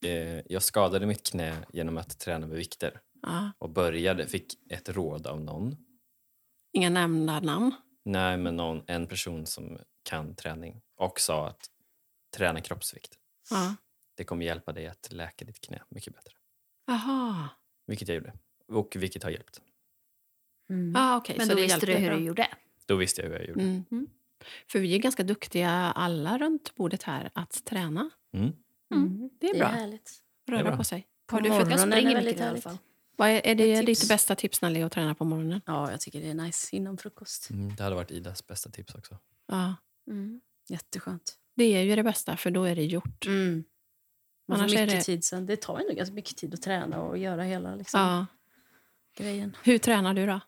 D: eh, jag skadade mitt knä genom att träna med vikter.
A: Ja.
D: Och började, fick ett råd av någon.
A: Inga nämnda namn?
D: Nej, men någon, en person som kan träning. Och sa att träna kroppsvikt.
A: Ja.
D: Det kommer hjälpa dig att läka ditt knä mycket bättre.
A: Jaha.
D: Vilket jag gjorde. Och vilket har hjälpt.
C: Mm.
A: Ah, okay.
B: Men
A: så
B: då
A: det
B: visste
A: hjälpte
B: du hur
A: bra.
B: du gjorde.
D: Då visste jag hur jag gjorde.
A: Mm.
B: Mm.
A: För vi är ganska duktiga alla runt bordet här att träna.
D: Mm.
C: Mm.
A: Det är
C: Det är
A: bra.
C: härligt.
D: Det är
A: Röra
D: bra.
A: på sig.
C: På
A: Har du
C: morgonen.
A: fått,
B: Jag
C: Morgonen är
B: springer
C: väldigt
B: mycket i alla
C: härligt.
B: fall.
A: vad är, är det
C: Ett tips.
A: ditt bästa tips Nelly, att träna på morgonen?
C: Ja, jag tycker det är nice innan frukost.
D: Mm, det hade varit Idas bästa tips också.
A: Ja.
B: Mm.
C: Jätteskönt.
A: Det är ju det bästa, för då är det gjort.
C: Mm. Man
A: Annars
C: får
A: är
C: mycket
A: det-
C: tid sen. Det tar ju nog ganska mycket tid att träna och göra hela liksom,
A: Ja.
C: grejen.
A: Hur tränar du då?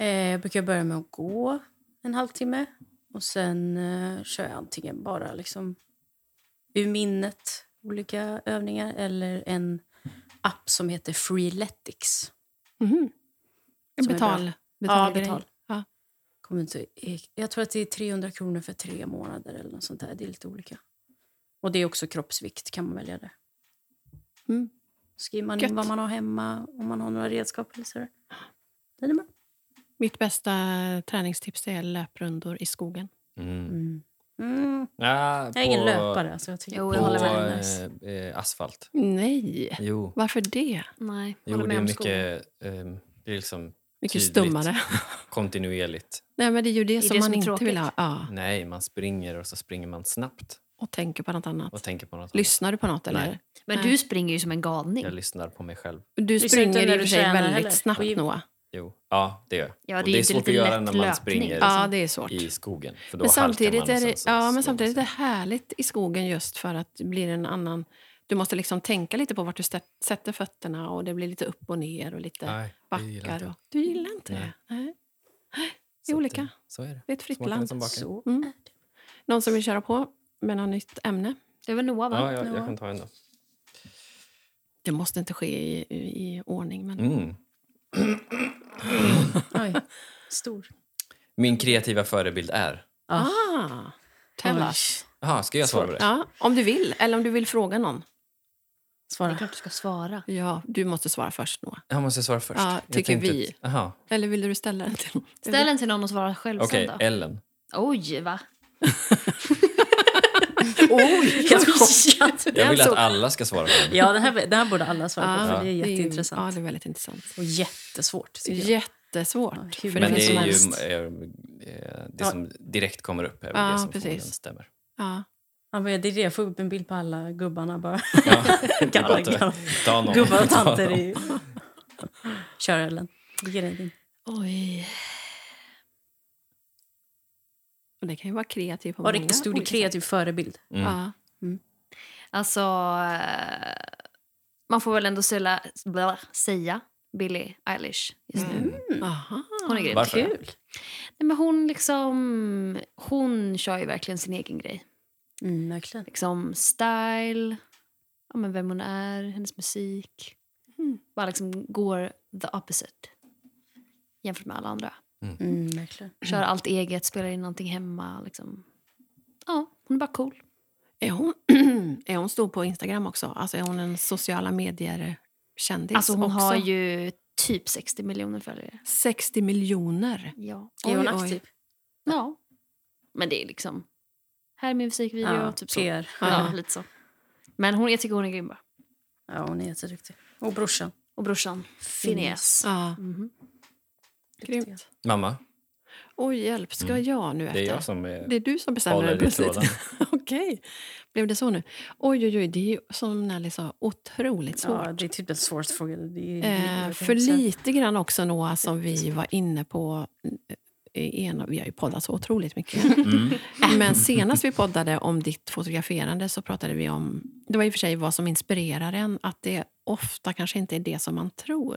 C: Eh, jag brukar börja med att gå en halvtimme och sen eh, kör jag antingen bara liksom ur minnet olika övningar eller en app som heter Freeletics.
A: Mhm. En
C: Som är bra.
A: betal, betal,
C: ja, betal.
A: Ja.
C: Kommer inte, jag tror att det är 300 kronor för tre månader eller något sånt där. Det är lite olika. Och det är också kroppsvikt kan man välja det.
A: Mm.
C: Skriver man
A: Gött.
C: in vad man har hemma, om man har några redskap eller sådär. Den är bra.
A: Mitt bästa träningstips är löprundor i skogen.
D: Mm.
C: Mm. Mm.
D: Ah,
C: Jag är ingen
D: på-
C: löpare. Så jag tycker
B: Jo,
D: På
B: jag håller med.
C: Det är nice.
D: eh, eh, asfalt.
A: Nej,
D: Jo,
A: varför det?
B: Nej,
D: jo
B: håller
D: det
B: med
D: är
B: om skogen.
D: mycket... ehm, det är liksom
A: Mycket
D: Tydligt.
A: stummare.
D: *laughs* kontinuerligt.
A: Nej, men det är ju det
B: är
A: som
B: det
A: man
B: som är
A: inte
B: tråkigt.
A: vill ha. Ja.
D: Nej, man springer och så springer man snabbt
A: Och tänker på något annat.
D: och tänker på något annat.
A: Lyssnar du på något?
D: Nej.
A: Eller?
B: Men
A: Nej.
B: du springer ju som en galning.
D: Jag lyssnar på mig själv.
A: Du
C: Lyssnar inte
A: springer i
C: när
A: och för
C: du
A: sig
C: tränar
A: väldigt
C: heller.
A: snabbt,
C: Och i-
A: Noah.
D: Jo, ja, det gör jag.
B: Ja,
D: Och
B: det är
D: det är
B: inte
D: svårt
B: lite
D: att göra
B: lätt
D: när man
B: löpning.
D: springer
A: Ja, det är svårt.
D: i skogen. För då
A: Men
D: halkar
A: samtidigt,
D: man liksom och
A: är det,
D: sen så
A: ja, men
D: slår
A: samtidigt är
D: man
A: det
D: sig.
A: härligt i skogen just för att det blir en annan... Du måste liksom tänka lite på vart du stä- sätter fötterna och det blir lite upp och ner och lite
D: Nej, det gillar
A: backar.
D: inte jag.
A: Och, du gillar inte
D: Nej.
A: det? Nej.
D: Så att
A: olika.
D: det- Så är det.
A: Det är ett fritt
D: Smakar det
A: land.
D: som baken?
C: Så
A: Mm.
C: är det.
A: Någon som vill köra på med något nytt ämne?
B: Det var Noah, va?
D: Ja, jag, jag
C: Ja.
D: kan ta en då.
A: Det måste inte ske i, i, i ordning, men...
D: Mm.
C: Oj, stor.
D: Min kreativa förebild är...
A: Ah! Tell
C: Oj.
A: us.
D: Jaha, ska jag svara på det?
A: Ja, om du vill, eller om du vill fråga någon.
B: Det är
C: Svara.
B: klart du ska svara.
A: Ja, du måste svara först, Noah.
D: Jag måste jag svara först.
A: Ja,
D: Jag
A: tycker
D: tänkte
A: vi.
D: att- Jaha,
A: Eller ville du ställa den till någon?
B: Ställ den till någon och svara själv
D: okej. eh.
B: sen då.
D: Ellen.
B: Oj, va?
C: Oj, helt chockad.
D: Jag vill
A: Den
D: att
A: såg-
D: alla ska svara på den.
C: Ja, den här, den här borde alla svara på,
A: Ja,
C: för det är
A: ju-
C: jätteintressant.
A: Ja, det är väldigt intressant.
C: Och jättesvårt, tycker jag.
A: Jättesvårt.
C: Ja, hur
A: för
D: Men det
A: finns
C: som
D: är ju
C: helst.
D: eh, eh, det
C: Ja.
D: som direkt kommer upp. Är väl
A: Ja,
D: det som
A: precis.
D: förmodligen stämmer.
A: Ja.
C: Ja, men det är det, jag får upp en bild på alla gubbarna bara.
D: Ja, *laughs* det är
C: Gamla,
D: bara att
C: gamla.
D: ta någon.
C: *laughs*
D: *laughs*
C: Gubbar och
D: Ta
C: tanter.
D: någon.
C: I... *laughs* Kör Ellen. Ge dig din.
B: Oj.
A: Och det kan ju vara kreativt på
C: Var
A: många
C: det stod det
A: olika sätt.
C: kreativ förebild?
D: Mm.
A: Ja.
B: Alltså, eh, man får väl ändå sälla, bla, säga Billie Eilish just nu.
A: Aha.
B: Hon är grym.
D: Varför?
C: Kul.
B: Nej, men hon liksom, hon kör ju verkligen sin egen grej.
C: Mm, verkligen.
B: Liksom style, ja, men vem hon är, hennes musik.
A: Mm.
B: Bara liksom går the opposite jämfört med alla andra.
C: Mm, verkligen.
B: Kör allt eget, spelar in någonting hemma. Liksom. Ja, hon är bara cool.
A: Är hon, *clears throat* är hon stor på Instagram också? Alltså är hon en sociala medier-kändis
B: Alltså hon
A: också?
B: har ju typ 60 miljoner följare.
A: 60 miljoner.
B: Ja.
C: Är hon
A: Oj, oj.
C: aktiv?
B: ja. Men det är liksom... Här är min musikvideo.
C: Ja,
B: typ så.
C: PR.
B: Ja, lite så. Men hon, jag tycker hon är grym bara.
C: Ja, hon är jätteduktig. Och brorsan.
B: Och brorsan, finess.
A: Ja,
B: Mhm.
A: grymt.
D: Mamma,
A: Oj, hjälp. Ska jag nu efter?
D: Mm. det är jag som är...
A: Det är du som bestämmer
D: håller
A: det
D: i
A: plötsligt.
D: tråden.
A: *laughs* Okej. Blev det så nu? Oj, oj, oj. Det är ju som Nelly sa, otroligt svårt.
C: Ja, det är typ den svåraste frågan. Mm, Det är,
A: Eh, för lite grann också Noah, som vi var inne på eh, i en, vi har ju poddat så otroligt mycket.
D: Mm.
A: *laughs* Men senast vi poddade om ditt fotograferande så pratade vi om... Det var i och för sig vad som inspirerar en. Att det ofta kanske inte är det som man tror.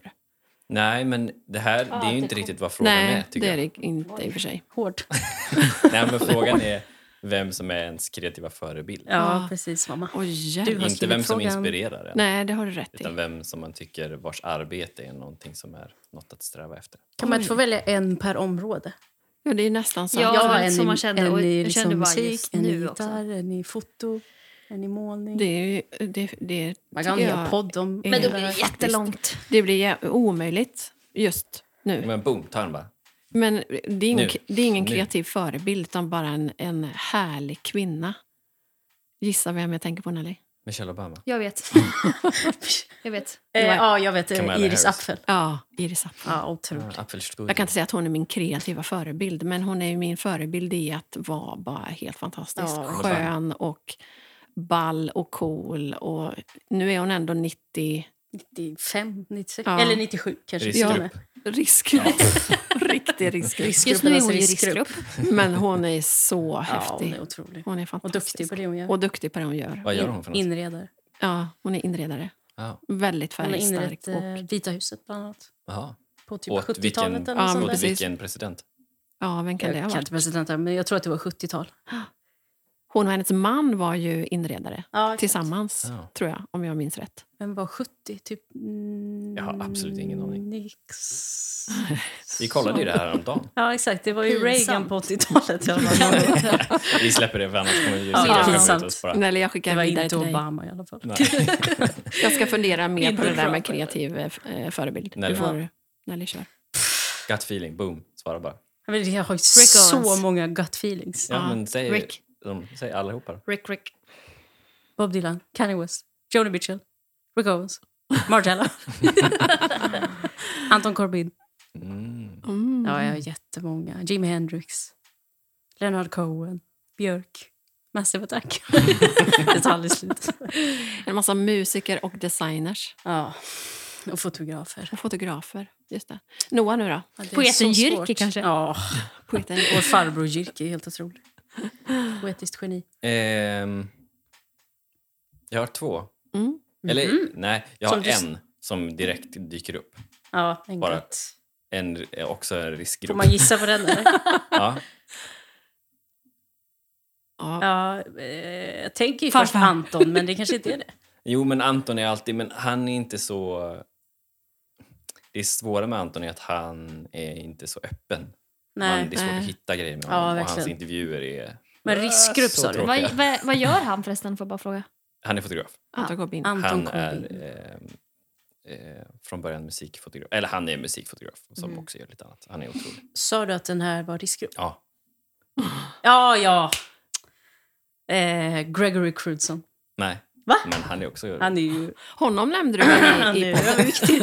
D: Nej, men det här det är ju inte riktigt vad frågan
A: Nej,
D: är. Tycker
A: det är
D: jag.
A: det inte i och för sig.
C: Hård. Ja,
D: Nej, men frågan är vem som är ens kreativa förebild.
A: Ja.
C: precis mamma.
A: Oj,
C: Du har-
A: jävlar.
D: Inte
C: skrivit
D: vem som
C: frågan.
D: inspirerar en,
A: Nej, det har du rätt i.
D: utan vem som man tycker vars arbete är någonting som är något att sträva efter.
C: Kan man inte få välja en per område?
A: Ja, det är nästan sant.
B: Ja,
C: Jag
B: det var
C: har
B: lite så man kände,
C: en
B: och
C: i
B: jag
C: liksom
B: kände bara just
C: musik, en i
B: nu också.
C: gitarr, en i foto, en i målning.
A: Det, är ju, det, det,
C: man kan ha en
A: tycker
C: hel
A: jag-
C: podd om...
B: Men då
A: Ja,
B: blir det
C: faktiskt.
B: jättelångt.
A: det blir jä- omöjligt just nu.
D: Men boom, ta den bara.
A: Men det är ingen,
D: Nu.
A: det är ingen
D: Nu.
A: kreativ förebild, utan bara en, en härlig kvinna. Gissa vem jag tänker på, Nelly?
D: Michelle Obama.
B: Jag vet. *laughs* jag vet.
C: Eh,
A: var-
C: ja, jag vet. eh,
D: Kamala Harris.
C: Iris Apfel.
A: Ja, Iris Apfel.
C: Ja, otroligt.
D: Ja, Apfelstrudel.
A: Jag kan inte säga att hon är min kreativa förebild, men hon är ju min förebild i att vara bara helt fantastisk.
C: Ja.
A: Skön och ball och cool. Och nu är hon ändå 90...
C: 95, 96,
A: Ja.
C: eller 97 kanske.
D: Riskgrupp.
C: till och med.
A: Riskgrupp. *laughs* Riktig riskgrupp.
B: Just nu är hon i
C: Riskgruppernas
B: riskgrupp.
A: Men hon är så
C: Ja,
A: häftig.
C: hon är otrolig.
A: Hon är
C: Och
A: fantastisk.
C: duktig på det hon gör.
A: Och duktig på det hon gör.
D: Vad gör hon för något? Ah,
C: Inredare.
A: Ja, hon är inredare.
D: Ja,
A: Väldigt
C: Hon har
A: färgstark.
C: inrett eh,
A: Och,
C: Vita huset bland annat.
D: jaha.
C: På typ
D: Åt
C: 70-talet
D: vilken-
C: eller
A: Ja,
C: något
A: men
C: sånt
D: Och
C: där.
A: precis.
D: vilken president?
A: ja, vem kan det ha
C: Jag kan
A: varit?
C: inte presidenten, men jag tror att det var 70-tal.
A: Hon och hennes man var ju inredare
C: Ja,
A: tillsammans,
D: Ja.
A: tror jag, om jag minns rätt.
C: Vem var 70? Typ... mm,
D: Jag har absolut ingen
A: *laughs*
D: aning.
C: Nix.
D: Vi kollade ju det här om dagen.
C: Ja, exakt. Det var ju
B: Pinsamt.
C: Reagan
A: *laughs*
C: på 80-talet. i alla fall.
D: Vi släpper det för annars kommer ju
C: Ja,
D: sitta och skämma
C: pinsamt.
D: ut oss bara.
A: Eller jag
C: Det
A: skickar
C: var
A: vidare
C: inte
A: till dig.
C: Obama i alla fall.
D: Nej.
A: Jag ska fundera mer på
C: Inte
A: det där med
C: Trump,
A: kreativ eh, f- eh, förebild.
D: Nelly.
A: Du får, Nelly kör.
D: Gut feeling, boom. Svara bara.
C: Jag vet, Jag har ju
B: Owens.
C: så många gut feelings.
D: Ja, men säg,
B: Rick.
D: De, säg allihopa då.
B: Rick, Rick.
C: Bob Dylan, Kanye West, Joni Mitchell, Rick Owens, Margiela. *laughs* Anton Corbijn.
D: Mm.
A: Mm.
C: Ja, jag har jättemånga. Jimi Hendrix, Leonard Cohen, Björk. Massive *laughs* Attack. det tar aldrig slut.
A: En massa musiker och designers
C: Ja. Och fotografer.
A: och fotografer. Just det. Noah nu då?
C: Ja, det är
B: Poeten
C: så
B: Jyrki
C: svårt.
B: kanske?
C: Ja,
A: Poeten.
C: och farbror Jyrki är helt *laughs* otrolig. Poetiskt geni.
D: Ehm, jag har två.
A: Mm.
D: Eller nej, jag
C: Mm-hmm. Som
D: har
C: du s-
D: en som direkt dyker upp.
C: Ja, en
D: Bara-
C: gutt.
D: En, också en riskgrupp.
C: Får man gissa på den? Eller? *laughs*
D: Ja.
A: Ja.
C: Ja, eh, jag tänker ju först
B: Farfar.
C: Anton, men det kanske inte är det.
D: Jo, men Anton är alltid... Men han är inte så... Det svåra med Anton är att han är inte så öppen.
C: Nej.
D: man, det är svårt
A: nej.
D: att hitta grejer med
C: Ja,
D: honom. och hans
C: verkligen.
D: intervjuer är...
C: Men
D: Äh,
C: riskgrupp
D: så
C: sa du?
D: tråkigt.
B: Vad, vad, vad gör han förresten? Får jag bara fråga.
D: Han är fotograf.
A: Anton Corbin.
C: Anton
D: han
C: Corbijn.
D: är eh, eh, från början musikfotograf. Eller han är musikfotograf som
C: Mm.
D: också gör lite annat. Han är otrolig.
C: Sa du att den här var riskgrupp?
D: Ja,
C: Ja, ja. Eh, Gregory Crudson.
D: nej.
C: Va?
D: Men han är också...
C: Han är ju...
A: Honom nämnde du väl
C: *clears throat* Han
A: i,
C: är
A: i
C: ju
A: podden?
C: överviktig.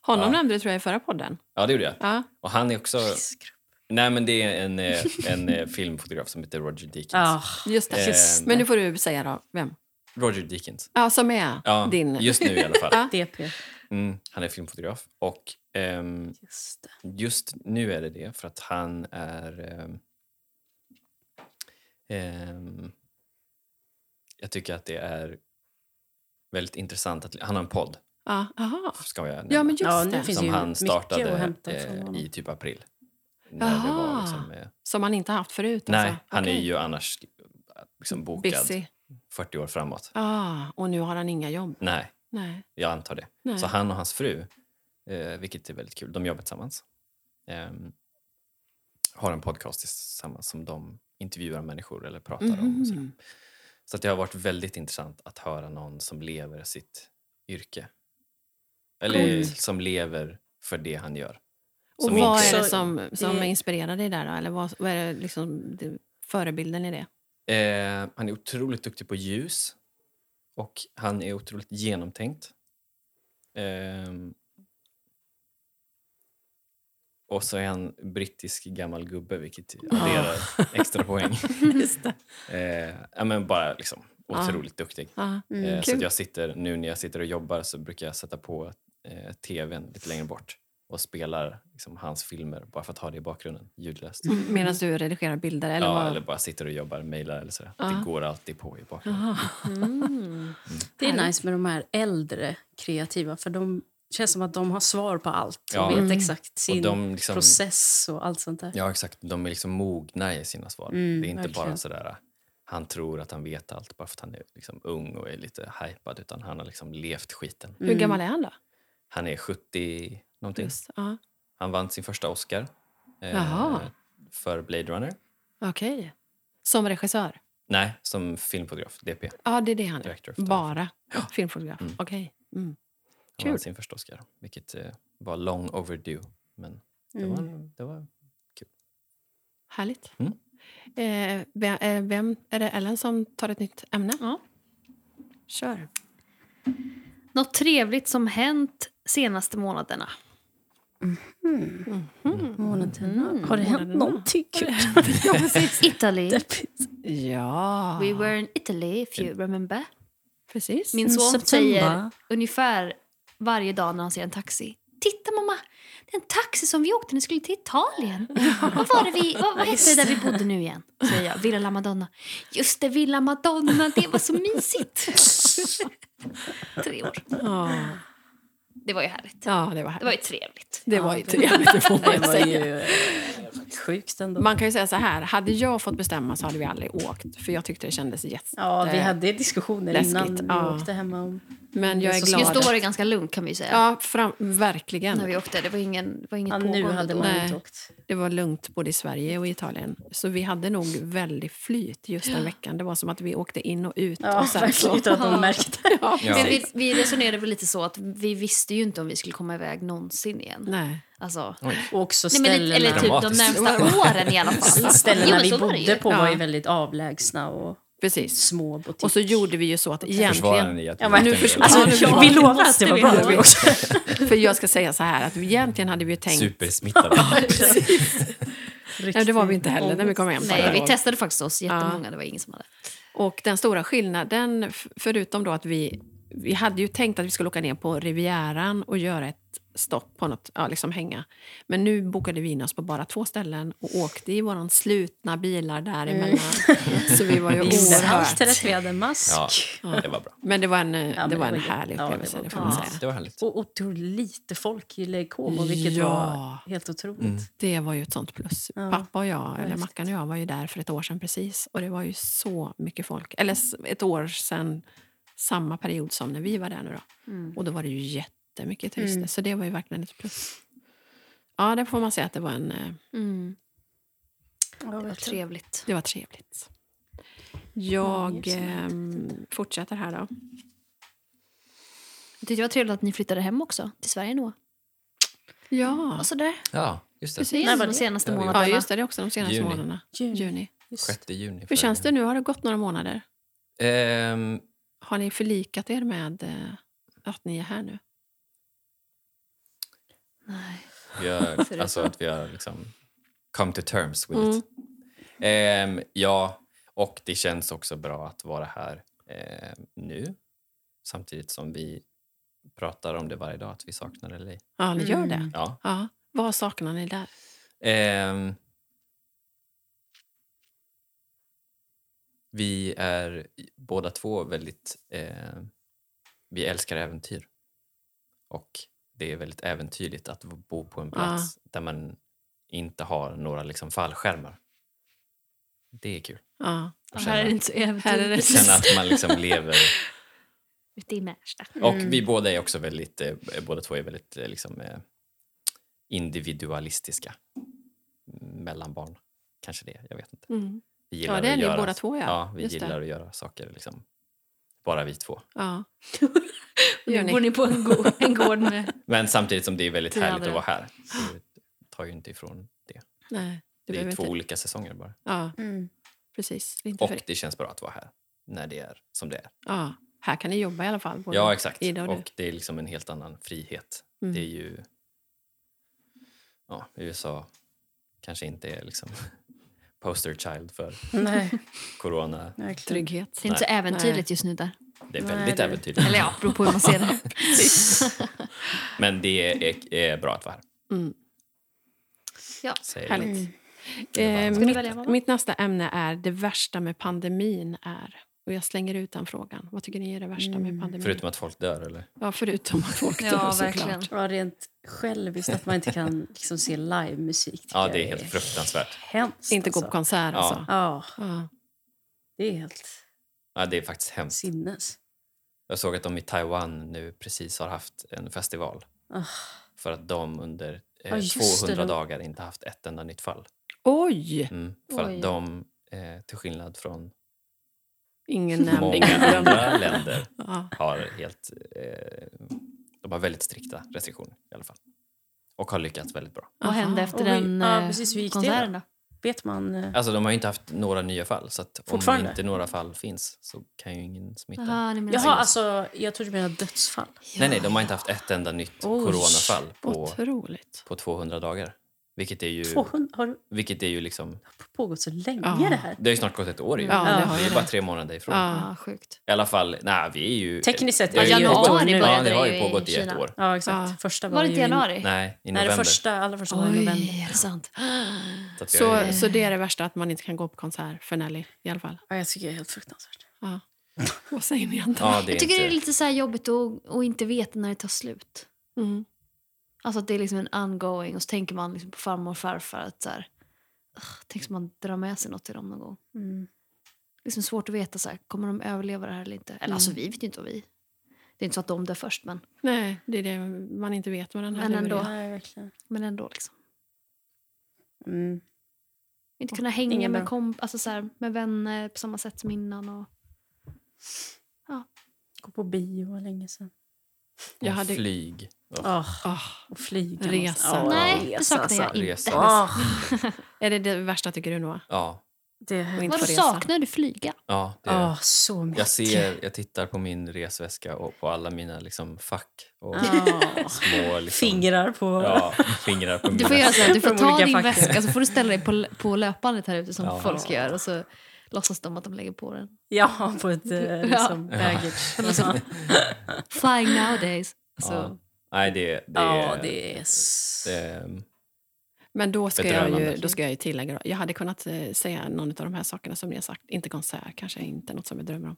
A: Honom
D: Ja.
A: nämnde du tror jag i förra podden.
D: Ja, det gjorde jag.
A: Ja.
D: Och han är också...
C: Riskgrupp.
D: Nej, men det är en, eh, en eh, filmfotograf som heter Roger Deakins.
C: Ja.
A: Just det.
D: Just
A: Men nu får du säga då, vem?
D: Roger Deakins.
A: Ja, som är
D: Ja,
A: din...
D: just nu i alla
C: *laughs*
D: fall.
A: Ja.
C: DP.
D: Mm, han är filmfotograf. Och ehm,
C: Just det.
D: just nu är det det, för att han är... ehm, ehm, jag tycker att det är väldigt intressant att... Han har en podd,
A: Ja, aha.
D: ska jag nämna,
A: ja men just
C: Ja,
A: det.
C: nu finns
D: som
C: ju
D: han
C: mycket
D: startade
C: att hämta från
D: eh,
C: honom. alltså,
D: i typ april. När det var
A: Jaha.
D: liksom, eh,
A: Som man inte haft förut?
D: nej,
A: alltså.
D: han är
A: Okej.
D: ju annars liksom bokad
A: Busy.
D: 40 år framåt.
A: Ah, och nu har han inga jobb?
D: Nej,
A: Nej.
D: jag antar det.
A: Nej.
D: Så han och hans fru, eh, vilket är väldigt kul, de jobbar tillsammans. ehm, har en podcast tillsammans som de intervjuar människor eller pratar om. och Så,
A: Mhm.
D: så att det har varit väldigt intressant att höra någon som lever sitt yrke. Eller
A: Coolt.
D: som lever för det han gör.
A: Och
D: Som
A: vad
D: inte-
A: är det som, som
C: det-
A: inspirerar dig där då? Eller vad, vad är det liksom det, förebilden i det?
D: Eh, han är otroligt duktig på ljus och han är otroligt genomtänkt. Ehm. och så är han brittisk gammal gubbe, vilket adderar
A: Ah. *laughs*
D: extra poäng.
C: *laughs* Just det.
D: Eh, ja, men bara liksom,
A: Ja.
D: otroligt duktig.
A: Ja.
D: Eh, så
A: Ah. Mm, Kul.
D: att jag sitter, nu när jag sitter och jobbar så brukar jag sätta på eh, tvn lite längre bort och spelar liksom, hans filmer bara för att ha det i bakgrunden, ljudlöst.
A: Medan du redigerar bilder? Mm. Eller Ah.
D: ja,
A: vad?
D: eller bara sitter och jobbar, mejlar eller sådär.
A: Ja.
D: Det går alltid på i bakgrunden.
A: Jaha.
C: Det är nice med de här äldre kreativa, för de känns som att de har svar på allt och
D: Ja.
C: vet
D: Mm.
C: exakt sin
D: Och de liksom,
C: process och allt sånt där.
D: Ja, exakt. De är liksom mogna i sina svar.
C: Mm,
D: det är inte bara
C: verkligen.
D: sådär äh, han tror att han vet allt bara för att han är liksom ung och är lite hypad utan han har liksom levt skiten.
C: Mm.
A: Hur gammal är han då?
D: Han är 70 någonting.
A: Just, ja.
D: Han vann sin första Oscar eh,
A: Jaha.
D: för Blade Runner.
A: Okej. Som regissör?
D: Nej, som filmfotograf, DP.
A: Ja, det är det han är.
D: Director of photography.
A: Bara filmfotograf?
D: Mm.
A: Okej. Mm.
D: Han vann
A: Kul.
D: sin första Oscar, vilket eh, var long overdue. Men det,
C: Mm.
D: var, en- det var
A: Härligt.
D: Mm.
A: Eh, vem, eh, vem, är det Ellen som tar ett nytt ämne? Ja. Kör.
B: Något trevligt som hänt senaste månaderna?
C: Månaderna. Mm. Har det hänt någonting kul? *laughs*
B: *laughs* Italy.
A: Ja,
B: We were in Italy if you remember.
A: precis.
B: Min
C: Mm,
B: son
C: september.
B: säger ungefär varje dag när han ser en taxi. Titta mamma, det är en taxi som vi åkte när vi skulle till *laughs* Italien. vad var det vi, vad, vad hette det där vi bodde nu *laughs* igen? Säger jag, Villa La Madonna. Just det, Villa Madonna, det var så *laughs* mysigt. Tre år.
A: Ja.
B: Det var ju härligt.
A: ja, det var härligt.
B: Det var ju trevligt.
A: Det var ju trevligt, det får
C: Det
A: man
C: var
A: säga.
C: ju eh, sjukt ändå.
A: Man kan ju säga så här, hade jag fått bestämma så hade vi aldrig åkt. För jag tyckte det kändes jätte...
C: ja, vi hade diskussioner innan
A: läskigt,
C: vi
A: ja.
C: åkte hemma om...
A: Men jag är
C: Så
A: glad.
B: Just då var det ganska lugnt kan vi ju säga.
A: Ja, fram, verkligen.
B: När vi åkte, det var, ingen, det var inget
C: Ja, nu
B: pågående
C: hade
B: då.
C: man
A: Nej.
C: inte åkt.
A: Det var lugnt både i Sverige och i Italien. Så vi hade nog väldigt flyt just den veckan. Det var som att vi åkte in och ut.
C: Ja,
A: och sen
C: verkligen
A: så,
C: utan att de märkte.
A: ja.
D: Ja.
B: Men vi, vi resonerade väl lite så att vi visste ju inte om vi skulle komma iväg någonsin igen.
A: Nej.
B: Alltså,
C: *laughs* Och också
B: Nej, men,
C: ställena,
B: lite- eller typ de
D: Dramatiskt.
B: närmsta åren i alla fall. Jo,
C: *laughs* ställena
B: men
C: vi
B: så var det ju.
C: bodde på var ju
A: Ja.
C: väldigt avlägsna och
A: Precis.
C: små typ- butiker.
A: Och så gjorde vi ju så att
D: Försvarar
A: egentligen...
D: ni att
C: Ja,
D: ni
C: men
D: åkte
A: nu
D: en
A: försvarar-
D: del?
A: Alltså, jag- vi
C: lovade
B: att det var bra
A: nu
C: också.
A: För jag ska säga så här att egentligen hade vi ju tänkt...
D: Supersmittade.
A: Nej, det var vi inte heller när vi kom hem.
B: Nej, vi
A: Och-
B: testade faktiskt oss jättemånga. Det var ingen som hade.
A: Och den stora skillnaden, f- förutom då att vi, vi hade ju tänkt att vi skulle åka ner på Rivieran och göra ett stopp på något, ja, liksom hänga. Men nu bokade vi in oss på bara två ställen och åkte i våran slutna bilar däremellan.
C: Mm.
A: Så vi var
C: *laughs*
A: ju
C: gjorde allt
A: oerhört...
C: rätt. Vi hade mask.
D: Ja, det var bra.
A: Men det var en, eh,
C: men
A: det var
C: det
A: en
C: var ju-
A: härlig
C: ja, det
A: upplevelse,
C: var
A: det får man säga.
D: Det var härligt.
C: Och otroligt lite folk i Leikomo, vilket
A: Ja.
C: var helt otroligt.
D: Mm.
A: Det var ju ett sånt plus. Pappa och jag, eller Mackan och jag, var ju där för ett år sedan precis. Och det var ju så mycket folk. Eller s- ett år sedan, samma period som när vi var där nu då. Och då var det ju jättemycket turister. Så det var ju verkligen ett plus. Ja, det får man säga att det var, en, eh,
B: Mm.
C: Ja,
B: Det var
C: vet du.
B: trevligt.
A: det var trevligt. Jag ehm, fortsätter här då.
B: Jag tyckte det var trevligt att ni flyttade hem också, till Sverige Noah.
A: Ja,
B: Och sådär.
D: Ja, just det.
B: Precis,
C: När var
B: de
C: det?
B: senaste
D: Ja, det var-
B: månaderna.
A: ja just det. Det är också de senaste
D: Juni.
A: månaderna.
C: Juni.
A: Juni.
D: 6 juni.
A: Hur
D: förra
A: känns det
D: gången.
A: nu? Har det gått några månader?
D: Ehm,
A: Har ni förlikat er med eh, att ni är här nu?
B: Nej.
A: *laughs*
D: vi har, alltså att vi har liksom come to terms with
A: Mm.
D: it. Ehm, ja, och det känns också bra att vara här ehm, nu. Samtidigt som vi pratar om det varje dag, att vi saknar LA.
A: Ja, ni gör det.
D: Ja.
A: Ja. Vad saknar ni där?
D: Ehm, vi är båda två väldigt... Eh, vi älskar äventyr. Och det är väldigt äventyrligt att bo på en plats där man inte har några liksom fallskärmar. Det är kul.
A: Ja.
D: Att känna,
B: inte så
A: Här är det-
B: äventyrligt.
D: känna att man liksom lever...
B: Ute i Märsta.
A: Mm.
D: Och vi båda är också väldigt... Eh, båda två är väldigt eh, liksom, eh, individualistiska Mm, mellan barn. Kanske det, jag vet inte.
A: Mm.
D: Vi
A: Ja, det är
D: att
A: ni
D: göra,
A: båda två, ja.
D: ja vi
A: Just det.
D: gillar att göra saker liksom. Bara vi två.
A: Ja. Gör
B: Nu
A: ni?
B: bor ni på en gård, en gård med...
D: Men samtidigt som det är väldigt
B: Det är
D: härligt att
B: aldrig-
D: vara här. Så det tar ju inte ifrån det.
A: Nej, det
D: det är
A: behöver
D: två
A: inte.
D: olika säsonger bara.
A: Ja,
C: Mm.
A: precis. Det är inte
D: Och
A: för...
D: det känns bra att vara här när det är som det är.
A: ja. Här kan ni jobba i alla fall. både
D: Ja, exakt.
A: Ida och, du.
D: Och det är liksom en helt annan frihet.
A: Mm.
D: Det är ju... Ja, USA kanske inte är liksom *laughs* poster child för
C: Nej,
D: corona.
C: verkligen.
A: Trygghet.
B: Det är inte så äventyrligt just nu där.
D: Det är
C: Nej,
D: väldigt
C: det-
D: äventyrligt.
B: Eller ja, beror på hur man ser det.
D: Men det är, är bra att vara här.
A: Mm.
B: Ja.
D: säger jag.
A: Härligt.
D: Det är
A: Eh,
D: varmt.
B: Ska du välja,
A: mitt,
B: mamma?
A: mitt nästa ämne är det värsta med pandemin är. Och jag slänger ut den frågan. Vad tycker ni är det värsta med
C: Mm.
A: pandemin?
D: Förutom att folk dör, eller?
A: ja, förutom att folk dör
B: Ja, verkligen.
A: såklart.
C: Ja, rent själviskt att man
D: *laughs*
C: inte kan liksom, se livemusik. tycker
D: Ja,
C: jag
D: det är helt fruktansvärt.
C: Hemskt,
A: Inte gå
C: alltså.
A: på konsert
D: Ja.
A: alltså.
C: Ja,
A: Ja.
C: det är helt
D: Ja, det är faktiskt hemskt.
C: sinnes.
D: Jag såg att de i Taiwan nu precis har haft en festival
C: Ah.
D: för att de under eh,
C: Ja, just det,
D: 200
C: de-
D: dagar inte haft ett enda nytt fall.
A: Oj!
D: Mm, för
B: Oj.
D: att de, eh, till skillnad från
A: Ingen nämnd,
D: många
A: ingen glömd.
D: andra länder,
A: Ja.
D: har helt... Eh, de har väldigt strikta restriktioner i alla fall. Och har lyckats väldigt bra.
B: Vad hände
A: Aha.
B: efter
C: Och vi-
B: den
C: ja,
B: eh,
C: precis, hur gick det
B: konserten då?
C: Vet man... eh,
D: Alltså de har ju inte haft några nya fall så att om
C: Fortfarande?
D: inte några fall finns så kan ju ingen smitta.
B: Jaha, ni menar så.
C: Jaha, alltså, jag trodde du menade dödsfall.
D: Nej, nej, de har inte haft ett enda nytt
C: Oj,
D: coronafall på,
A: Otroligt.
D: på 200 dagar. Vilket är ju,
C: 200, har det
D: vilket är ju liksom...
C: pågått så länge
A: Ja.
C: det här?
D: Det har ju snart gått ett år ju.
A: Ja, det
C: Ja.
A: har
D: Vi
A: ju
D: är
A: det.
D: bara tre månader ifrån.
A: Ja.
B: Ja, sjukt.
D: I alla fall, nej, vi är ju...
C: Tekniskt sett
D: Det har
B: Ja,
D: ju
B: januari
D: pågått-
B: började
D: Ja, det har
B: det
D: ju
B: ju i
D: pågått i ett
B: Kina.
D: år.
C: Ja, exakt.
A: Ja.
C: Första var,
B: Var det inte
C: ju i juni.
B: januari?
D: Nej, i
C: Nej,
D: november.
C: det första, allra första var i
B: Oj,
C: november.
B: är det sant?
D: Så att vi har
A: Så,
D: ju-
A: så det är det värsta, att man inte kan gå på konsert för Nelly i alla fall.
C: Ja, jag tycker det är helt fruktansvärt.
A: Ja. Vad säger ni andra?
D: ja, det är
B: Jag tycker det är
D: inte...
B: lite så här jobbigt att, att inte veta när det tar slut.
A: Mm.
B: Alltså att det är liksom en ongoing och så tänker man liksom på farmor och farfar att så här, "Ugh, tänk om man drar med sig något till dem någon gång. Liksom svårt att veta så här, kommer de överleva det här eller inte. Eller alltså vi vet ju inte vad vi. Det är inte så att de dör först men,
A: Nej, det är det man inte vet vad den här
B: Men
A: luren
B: ändå.
A: är.
C: Nej, verkligen.
B: men ändå liksom.
C: Mm.
B: Inte kunna hänga
C: Ingen
B: med,
C: bra.
B: komp- alltså så här, med vänner på samma sätt som innan. Och,
C: Gå på bio var länge sedan.
A: Jag
D: Och
A: hade-
D: Flyg. Ja.
C: Ah,
A: Ah,
C: och
A: Resa.
C: flyga. någonstans. Ja,
B: Nej, det
C: resa,
B: saknar jag
C: alltså.
B: inte.
D: Resa.
C: Ah,
A: Är det det värsta tycker du Noah?
D: Ja,
A: Och
C: det,
A: inte
B: Vadå
A: få resa?
B: saknar du flyga?
D: ja det är...
C: ah, så mycket.
D: Jag, ser, jag tittar på min resväska och på alla mina liksom, fack och
C: Ah.
D: små *laughs* liksom,
C: Fingrar på...
D: Ja, fingrar på
B: Du
D: mina
B: får göra så här, du får
C: *laughs* Från
B: ta
C: olika
B: din
C: fack.
B: väska så får du ställa dig på, på löpbandet här ute som
D: Ja.
B: folk gör och så låtsas de att de lägger på den.
C: Ja, på ett eh, liksom,
D: *laughs* Ja.
C: baggage.
B: Liksom. Flying nowadays. Så.
D: Ja. Nej, det, det,
C: Ja,
D: är-
C: det är... s-
D: det-
A: Men då ska, jag ju,
D: Bedrövande.
A: då ska jag ju tillägga, då. jag hade kunnat eh, säga någon av de här sakerna som ni har sagt. Inte konsert, kanske inte något som jag drömmer om.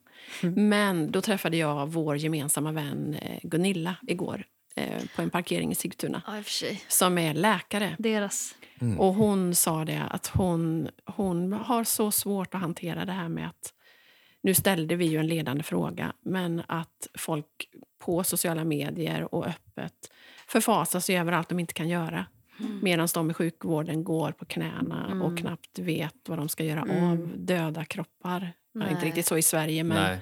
A: Men då träffade jag vår gemensamma vän eh, Gunilla igår eh, på en parkering i Sigtuna,
B: Ja, i och för sig.
A: som är läkare.
B: Deras.
A: Och hon sa det att hon, hon har så svårt att hantera det här med att nu ställde vi ju en ledande fråga, men att folk på sociala medier och öppet förfasar sig över allt de inte kan göra. Medan de i sjukvården går på knäna och knappt vet vad de ska göra av döda kroppar. Ja, inte
B: Nej.
A: riktigt så i Sverige, men...
D: Nej,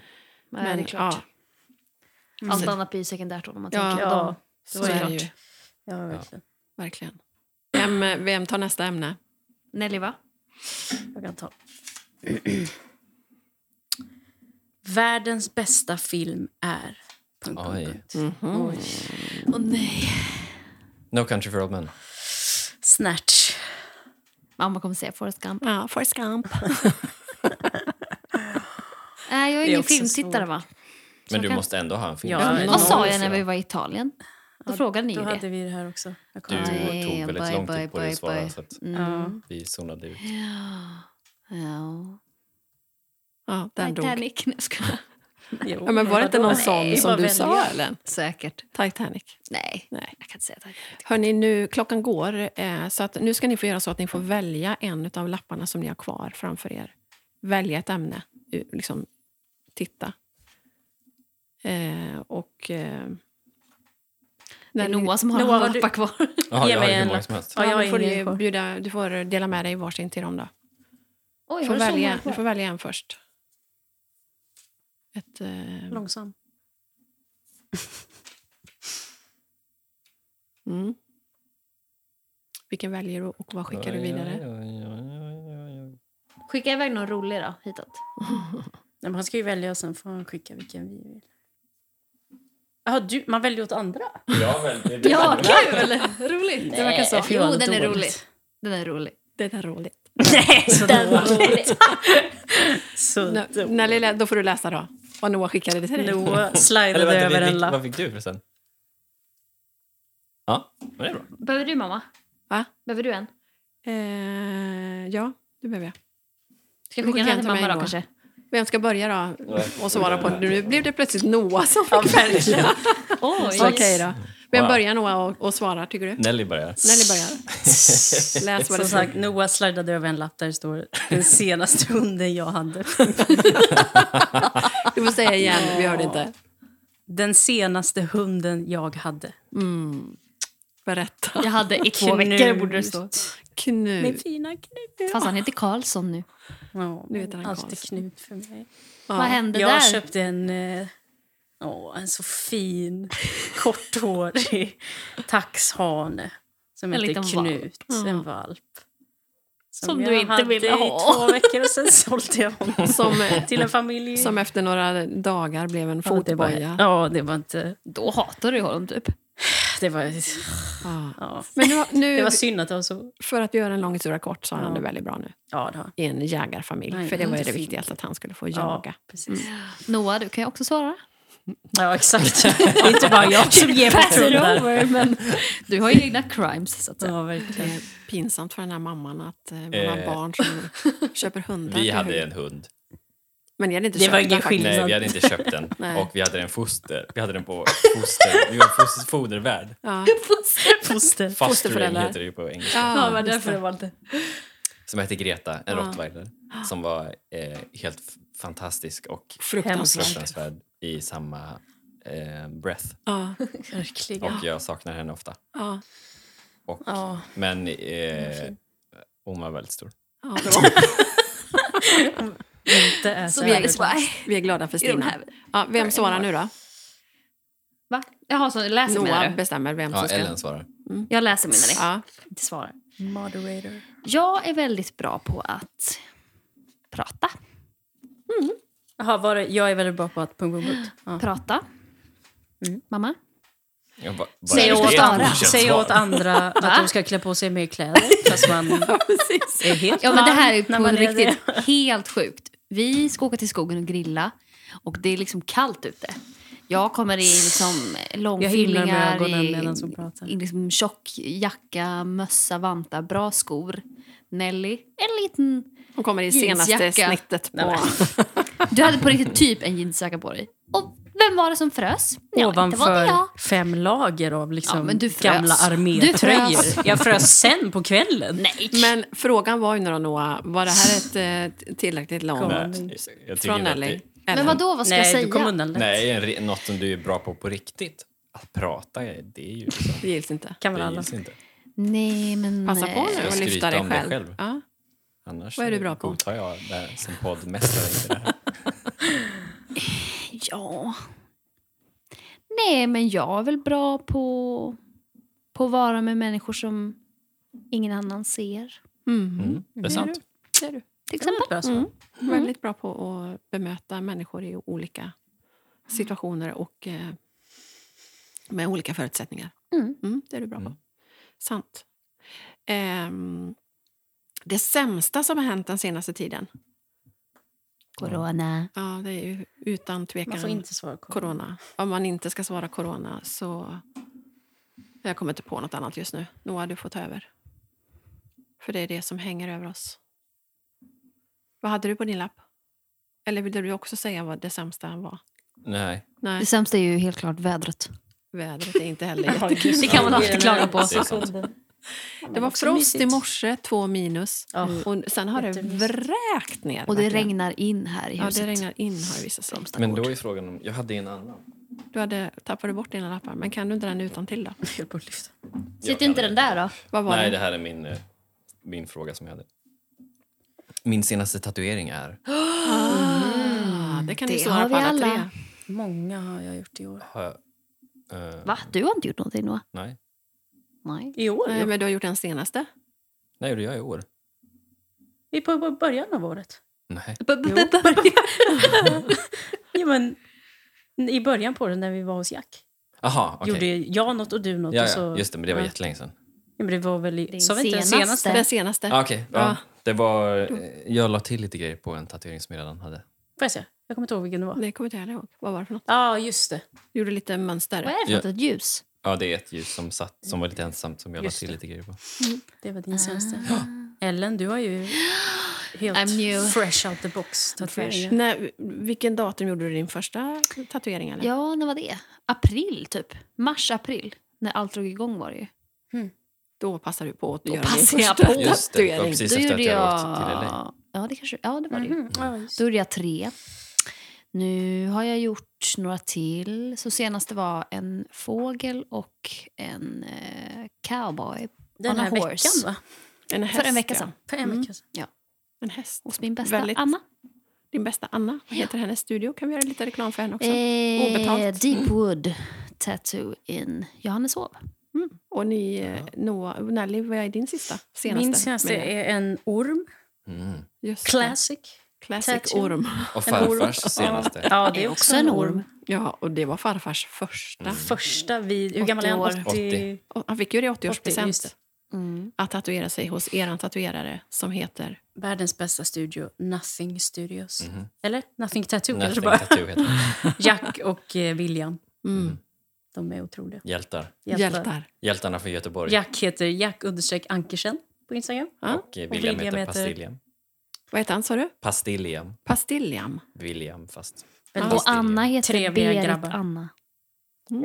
B: Men, det är klart. Allt annat blir ju sekundärt om man
A: Ja.
B: tänker på
C: Ja,
B: dem.
A: så
C: Det var
A: är det
C: klart.
A: ju.
C: ja, verkligen.
A: Verkligen. Vem, vem tar nästa ämne?
B: Nelly, va?
C: Jag kan ta. Världens bästa film är... Punkt, punkt,
D: Oj.
C: punkt.
A: Mhm.
C: Oj.
B: Åh nej.
D: No country for old men.
C: Snatch.
B: Mamma kommer säga Forrest Gump.
A: Ja, Forrest Gump.
B: Nej, Äh, jag är
C: Det är
B: ingen
C: också
B: filmtittare,
C: svårt.
B: va? Så
D: Men du
B: kan-
D: måste ändå ha en film.
C: Ja,
B: Ja, Vad
C: men någon
B: sa
C: måste
B: jag när
D: va?
B: vi var i Italien? Då frågade ni
C: Då
B: ju
C: hade
B: det.
C: vi det här också. Jag
D: Du
C: kommer inte ihåg.
B: Nej,
D: tog väldigt
B: bye,
D: lång
B: bye,
D: tid på dig
B: bye,
D: att svara
B: bye.
D: så att
B: Mm.
C: Ja.
D: vi zonade ut.
B: Ja. ja.
A: Ja, den dog.
B: Titanic. *laughs* Nej, jag skojar.
C: Jo,
A: Ja, men var det inte någon
C: vadå? Nej,
A: sån som
C: bara
A: du
C: välja.
A: sa, Ellen?
B: Säkert.
A: Titanic.
B: Nej,
A: Nej.
B: jag kan inte säga Titanic.
A: Hörni, nu, klockan går, eh, så att nu ska ni få göra så att ni får välja en av lapparna som ni har kvar framför er. Välja ett ämne, u- liksom titta. Eh, och eh,
B: Det är
A: När-
B: Noah som har
C: Noah, har
B: en
C: du-
B: mappa kvar.
D: *laughs* Ja,
C: Ge
D: jag har
C: mig
D: hur
C: en
D: många
C: lapp.
D: som helst.
C: Ja, jag
A: Ja,
C: har
A: du, får
C: ingen
A: ju
C: kvar.
A: bjuda, du får dela med dig varsin till dem då.
B: Oj,
A: Du
B: har
A: får,
B: du så många
A: välja, du
B: kvar?
A: får välja en först. Ett, eh,
C: Långsam.
A: mm. Vilken väljer du och vad skickar du vidare?
B: Skicka iväg någon rolig då, hitåt.
C: Nej, men han ska ju välja och sen får han skicka vilken vi vill. Jaha, du, man väljer åt andra?
D: Ja, väl, det
B: Ja, kul! Roligt.
C: Det verkar så.
B: Jo,
C: Fy, vad
B: den är
C: dåligt.
B: rolig. Den är rolig.
A: Det är roligt.
C: Nej, *laughs* så dåligt. *laughs* så
A: Nå,
C: dåligt.
A: när lilla, då får du läsa då. Vad Noah skickade det till dig.
C: Noah
D: Eller
C: slidade
D: vänta,
C: över
D: vi
C: en
D: fick,
C: *laughs* lapp.
D: vad fick du för sen? Ja, men det är bra.
B: Behöver du mamma?
A: Va?
B: Behöver du en?
A: Eh, ja, det behöver jag.
B: Ska
A: Du
B: jag skicka
A: skickar
B: den här till
A: en till
B: mamma
A: mig
B: då
A: då.
B: kanske?
A: Vem ska börja då?
D: Nej,
A: Och svara på det. Nu blev det plötsligt Noah som
C: Ja,
A: fick välja. *laughs*
B: Oj!
A: Okej då. Vem
D: Wow.
A: börjar Noah och, och svarar tycker du?
D: Nelly börjar.
A: Nelly börjar. Läs vad
C: Som
A: det står.
C: sagt, Alltså, Noah slidade över en lapp där det står den senaste hunden jag hade.
A: Du får säga igen, vi hörde
C: *laughs*
A: inte.
C: Den senaste hunden jag hade.
A: Berätta.
B: Jag hade i *laughs* två veckor borde det stå.
C: Min
A: Knut.
C: fina Knut.
B: Fast han heter Karlsson nu.
C: Ja,
A: Nu heter han
C: alltid
A: Karlsson.
C: Knut för mig.
B: Vad hände
C: jag
B: där?
C: köpte en, eh, åh, en så fin korthårig taxhane som
B: En
C: heter
B: liten valp.
C: Knut, en valp.
B: Som du
C: jag
B: inte
C: hade
B: ville
C: i
B: ha.
C: två veckor och sen *laughs* sålde jag honom
A: Som,
C: till en familj.
A: som efter några dagar blev en
C: Ja, det var-
A: fotboja.
C: Ja, det var inte...
B: Då hatar du honom typ.
C: Det var,
A: Ja.
C: ja.
A: Men nu,
C: det
A: nu
C: var synd att det var så...
A: för att göra en lång historia kort så har han det väldigt bra nu.
C: Ja, det var.
A: I en jägarfamilj.
C: Nej,
A: för det
C: det
A: var ju
C: är
A: det
C: fint.
A: viktigaste, att han skulle få
C: Ja, mm.
A: jaga.
C: precis.
B: Noah, du kan ju också svara.
C: Ja, exakt. Det är *laughs* inte bara jag som ger bort hundar.
B: men *laughs* du har ju egna crimes så att säga.
C: Ja,
A: Det *laughs*
C: verkligen.
A: är pinsamt för den här mamman att eh, man har
D: Eh.
A: barn *laughs* som köper hundar.
D: Vi
A: till
D: hade
A: hund.
D: en hund.
A: Men ni hade inte
C: Det var
A: köpt
C: ingen
A: den faktiskt.
D: Nej,
C: Innan-
D: vi hade inte köpt den.
A: Nej.
D: Och vi hade den foster. Vi hade den på foster. Vi var foster, fodervärd.
A: Ja.
C: Foster.
D: Fostering
A: Fosterföräldrar.
D: heter det ju på engelska.
A: Ja,
C: var
A: just det.
C: var inte...
D: Som hette Greta, en rottweiler. Som var eh, helt f- fantastisk och
A: Fruktansvärt.
D: fruktansvärd i samma eh, breath.
A: Ja.
C: Verkligen.
D: Och jag saknar henne ofta.
A: Ja.
D: Och,
C: Ja.
D: Men eh, hon var väldigt stor.
A: *laughs* Ja, det var.
C: Det är så
A: vi är-
C: här.
A: Vi är glada för
B: You don't
A: Stina.
B: have it.
A: Ja, vem svarar nu då?
B: Va? Jaha, så läser menar
A: Noah
B: du?
A: bestämmer vem som
D: Ja,
A: ska...
D: Ellen svarar.
B: Jag läser menar ni.
A: Ja.
B: Inte svarar.
C: Moderator.
B: Jag är väldigt bra på att prata.
C: Jaha, var det, jag är väldigt bra på att... Punkt, punkt, punkt. Ja.
B: Prata. Mamma?
D: Jag bara- bara
B: Säg
D: det
B: åt
D: är ett
B: andra.
D: godkänt
C: Säg
D: svar.
C: åt andra att de ska klä på sig mer kläder. Fast man är helt
B: Ja, men det här är
C: varm när man
B: på
C: är det.
B: riktigt helt sjukt. Vi ska åka till skogen och grilla och det är liksom kallt ute. Jag kommer i liksom
C: Jag himlar med
B: långfyllingar,
C: ögonen
B: i,
C: medan hon pratar.
B: i liksom tjock jacka, mössa, vantar, bra skor. Nelly, en liten...
A: Hon kommer i senaste
B: Jeansjacka.
A: snittet på...
B: Du hade på riktigt typ en jeansjacka på dig. Och vem var det som frös? Ja, det var det
C: Ovanför
B: jag.
C: fem lager av
B: Ja,
C: liksom
B: men du frös.
C: gamla
B: Du frös.
C: armétröjor. Jag frös sen på kvällen.
B: Nej!
A: *laughs* Men frågan var ju nu då, Noah, var det här ett eh, tillräckligt långt...
C: Kom.
D: Nej, jag- jag tycker
A: Från
D: inte att
A: Nelly.
D: det-
B: Men vad då vad ska
C: Nej,
B: jag säga?
C: du kom undan lätt.
D: Nej, en re- något som du är bra på på riktigt. Att prata, är- det är ju liksom,
A: Det gills inte.
C: Kan väl
D: det
C: alla.
D: gills inte.
B: Nej, men...
A: Passa på
B: eh,
A: nu och
D: skryta
A: lyfta dig
D: om dig
A: själv.
D: själv?
A: Ja.
D: Annars
A: Vad är du bra på?
D: godtar jag det här som poddmästare. inte det här.
B: Ja... Nej, men jag är väl bra på, på att vara med människor som ingen annan ser.
A: Mm.
D: Mm, det är sant.
A: Det är du.
B: Till
C: alltså. Det
B: exempel.
C: var ett bra svar.
A: Mm. Väldigt bra på att bemöta människor i olika situationer och eh, med olika förutsättningar.
B: Mm.
A: det är du bra på.
D: Mm.
A: Sant. Ehm, det sämsta som har hänt den senaste tiden,
B: Corona.
A: ja, det är ju utan
C: Man får
A: tvekan
C: Alltså inte svara på.
A: *laughs*
B: Mm.
A: corona. Om man inte ska svara corona så... Jag kommer inte på något annat just nu. Noah, du får ta över. För det är det som hänger över oss. Vad hade du på din lapp? Eller ville du också säga vad det sämsta var?
D: Nej.
B: Det
A: Nej,
B: sämsta är ju helt klart vädret.
A: vädret är inte
B: *laughs*
A: heller jätte-
B: Det kan man alltid klaga på.
D: Det är sant.
A: Det var frost i morse, två minus. Mm.
C: Ja.
A: Och sen har det
C: Jättemysigt.
A: vräkt ner.
B: Och det
A: verkligen.
B: regnar in här i
A: Ja,
B: huset.
A: det regnar in har det visat sig.
D: Men då är frågan om... Jag hade en annan.
A: Du hade, tappade bort dina lappar, men kan du inte den utan till då?
C: Jag höll på att lyfta.
D: Jag
B: Sitter
D: kan
B: inte
D: det.
B: den där då?
A: Vad var
D: Nej,
A: det?
D: det här är min, eh, min fråga som jag hade. Min senaste tatuering är...
A: Ah, det kan ni
B: Mm. Det
A: svara
B: har
A: på
B: vi
A: alla,
B: alla.
A: tre.
C: Många har jag gjort i år.
D: Har jag, eh,
B: Va? Du har inte gjort någonting va?
D: Nej.
B: Nej. *laughs*
C: I år?
A: Nej,
C: ja.
A: men du har gjort den senaste.
D: Nej, det gör jag i år.
C: I på- på början av året?
D: Nej.
C: *laughs* Ja, men, I början på det när vi var hos Jack.
D: Jaha, okej.
C: Gjorde jag något och du något.
D: Ja,
C: och så,
D: ja, just det, men det var
C: Ja.
D: jättelänge sedan.
C: Ja, men det var väl i,
B: Din
C: sa vi inte den
B: senaste.
C: senaste?
B: Där.
A: Den senaste.
D: Ah, okej, ja.
A: Ja.
D: Det var, eh, jag la till lite grejer på en tatuering som jag redan hade.
C: Får jag se? Jag kommer inte ihåg vilken det var. Ja,
A: Det kommer inte jag heller ihåg. Vad var det för något?
C: ah, just det.
A: Du gjorde lite
B: Vad
A: mönster.
B: är det för
D: Ja.
B: något? Ett ljus?
D: Ja, det är ett ljus som, satt, som var lite ensamt som jag la
C: Just
D: till
C: det.
D: lite grejer på.
C: Det var din senaste. Ellen, du har ju helt
B: Ah. I'm new. Mm.
C: fresh out the box tatueringar.
A: När, vilken datum gjorde du din första tatuering? Eller?
B: Ja, när var det? April typ. Mars, april. När allt drog igång var det ju.
A: Då passade du på att göra din
B: passade jag
A: första
B: på.
D: Just det, det var
A: tatuering.
D: precis efter att jag hade åkt till LA.
B: Ja, det kanske... Ja, det var det ju.
C: Mhm, ja, just
B: Då gjorde jag tre. Nu har jag gjort några till. Så senaste var en fågel och en eh, cowboy.
C: det. Den
B: On a
C: här veckan,
B: horse.
C: va?
A: En häst,
B: För en vecka
A: ja.
B: sedan.
C: För en
B: Mm.
C: vecka sedan.
A: En häst.
B: Hos min bästa
A: Väldigt-
B: Anna.
A: Din bästa Anna. Vad heter hennes studio? Kan vi göra lite reklam för henne också?
B: Eh,
A: Obetalt. Mm.
B: Deepwood Tattoo in Johanneshov.
A: Och ni, eh, Noah, Nelly, vad är din sista? Senaste?
C: Min senaste
A: menar jag.
C: är en orm.
D: Mm.
A: Just det.
C: Classic.
A: Classic
C: tattoo.
A: orm.
D: Och
C: En orm.
D: farfars senaste.
C: Ja,
B: Det är också en orm.
A: Ja, och det var farfars första.
D: Mm.
C: Första vid... Hur gammal är han?
B: 80
D: år.
C: 80.
A: Och han fick ju det i 80-årspresent.
C: 80, just det.
B: Mm.
A: att tatuera sig hos er tatuerare som heter...
C: Världens bästa studio, Nothing Studios.
D: Mhm.
C: Eller Nothing Tattoo Typ kanske
D: Nothing
C: bara.
D: Tattoo heter den.
C: Jack och eh, William.
A: Mm.
C: De är otroliga.
D: Hjältar.
A: Hjältar.
D: Hjältarna från Göteborg.
C: Jack heter Jack understreck Ankersen på Instagram.
A: Ja.
D: Och eh, William
C: William
D: heter
C: heter-
D: Pastilliam.
A: Vad heter han, sa du?
D: Pastilliam.
A: Pastilliam.
D: William, fast...
C: Väldigt
B: Och Anna heter
C: Trevliga
B: Berit
C: grabbar.
B: Anna.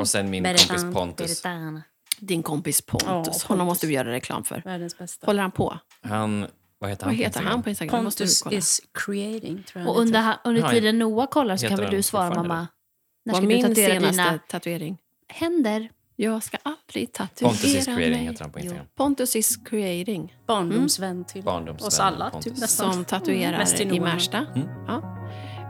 D: Och sen min
C: Berätta.
D: kompis Pontus.
B: Berit Anna.
A: Din kompis Pontus.
C: Ja, Pontus.
A: Honom måste vi göra reklam för.
C: Världens bästa.
A: Håller han på?
D: Han... Vad heter
A: Vad
D: han på
A: heter han
D: Instagram?
A: på Instagram? Det måste du
C: Pontus
A: kolla.
C: is creating, tror jag
B: Och
C: han
B: under,
C: heter.
B: ha- under
D: Nej.
B: tiden Noah kollar så
D: Heter
B: kan väl
D: den
B: du svara
D: fortfarande
B: mamma. När
A: Var
B: ska du
A: min
B: tatuera
A: senaste
B: dina
A: tatuering.
B: händer?
A: Jag ska aldrig tatuera
D: Pontus is creating
A: mig.
D: heter han på Instagram.
A: Pontus is creating.
C: Barndomsvän till
D: Barndomsvän
C: oss alla.
D: Pontus.
C: Typ, nästan.
A: Som tatuerar
C: Mest i
A: i
C: Norden.
A: Märsta.
D: Mm.
A: Ja.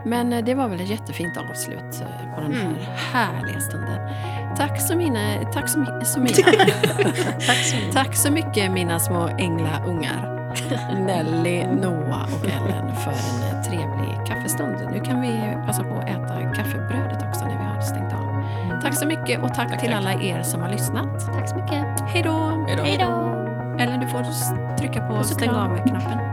A: Men eh, det var väl ett jättefint avslut eh, på den här
C: Mm.
A: härliga stunden. Tack så, mina, tack så, mi- så
C: *laughs*
A: mina.
C: *laughs* Tack så mycket.
A: Tack så mycket mina små änglaungar. Nelly, Noah och Ellen för en trevlig kaffestund. Nu kan vi passa på att äta kaffebrödet också när vi har stängt av. Tack så mycket och tack, till
D: tack.
A: alla er som har lyssnat.
B: Tack så mycket.
A: Hej då!
D: Hej då.
B: Hej då!
A: Ellen, du får s- trycka på
B: Puss och
A: stäng
B: kram.
A: av-knappen.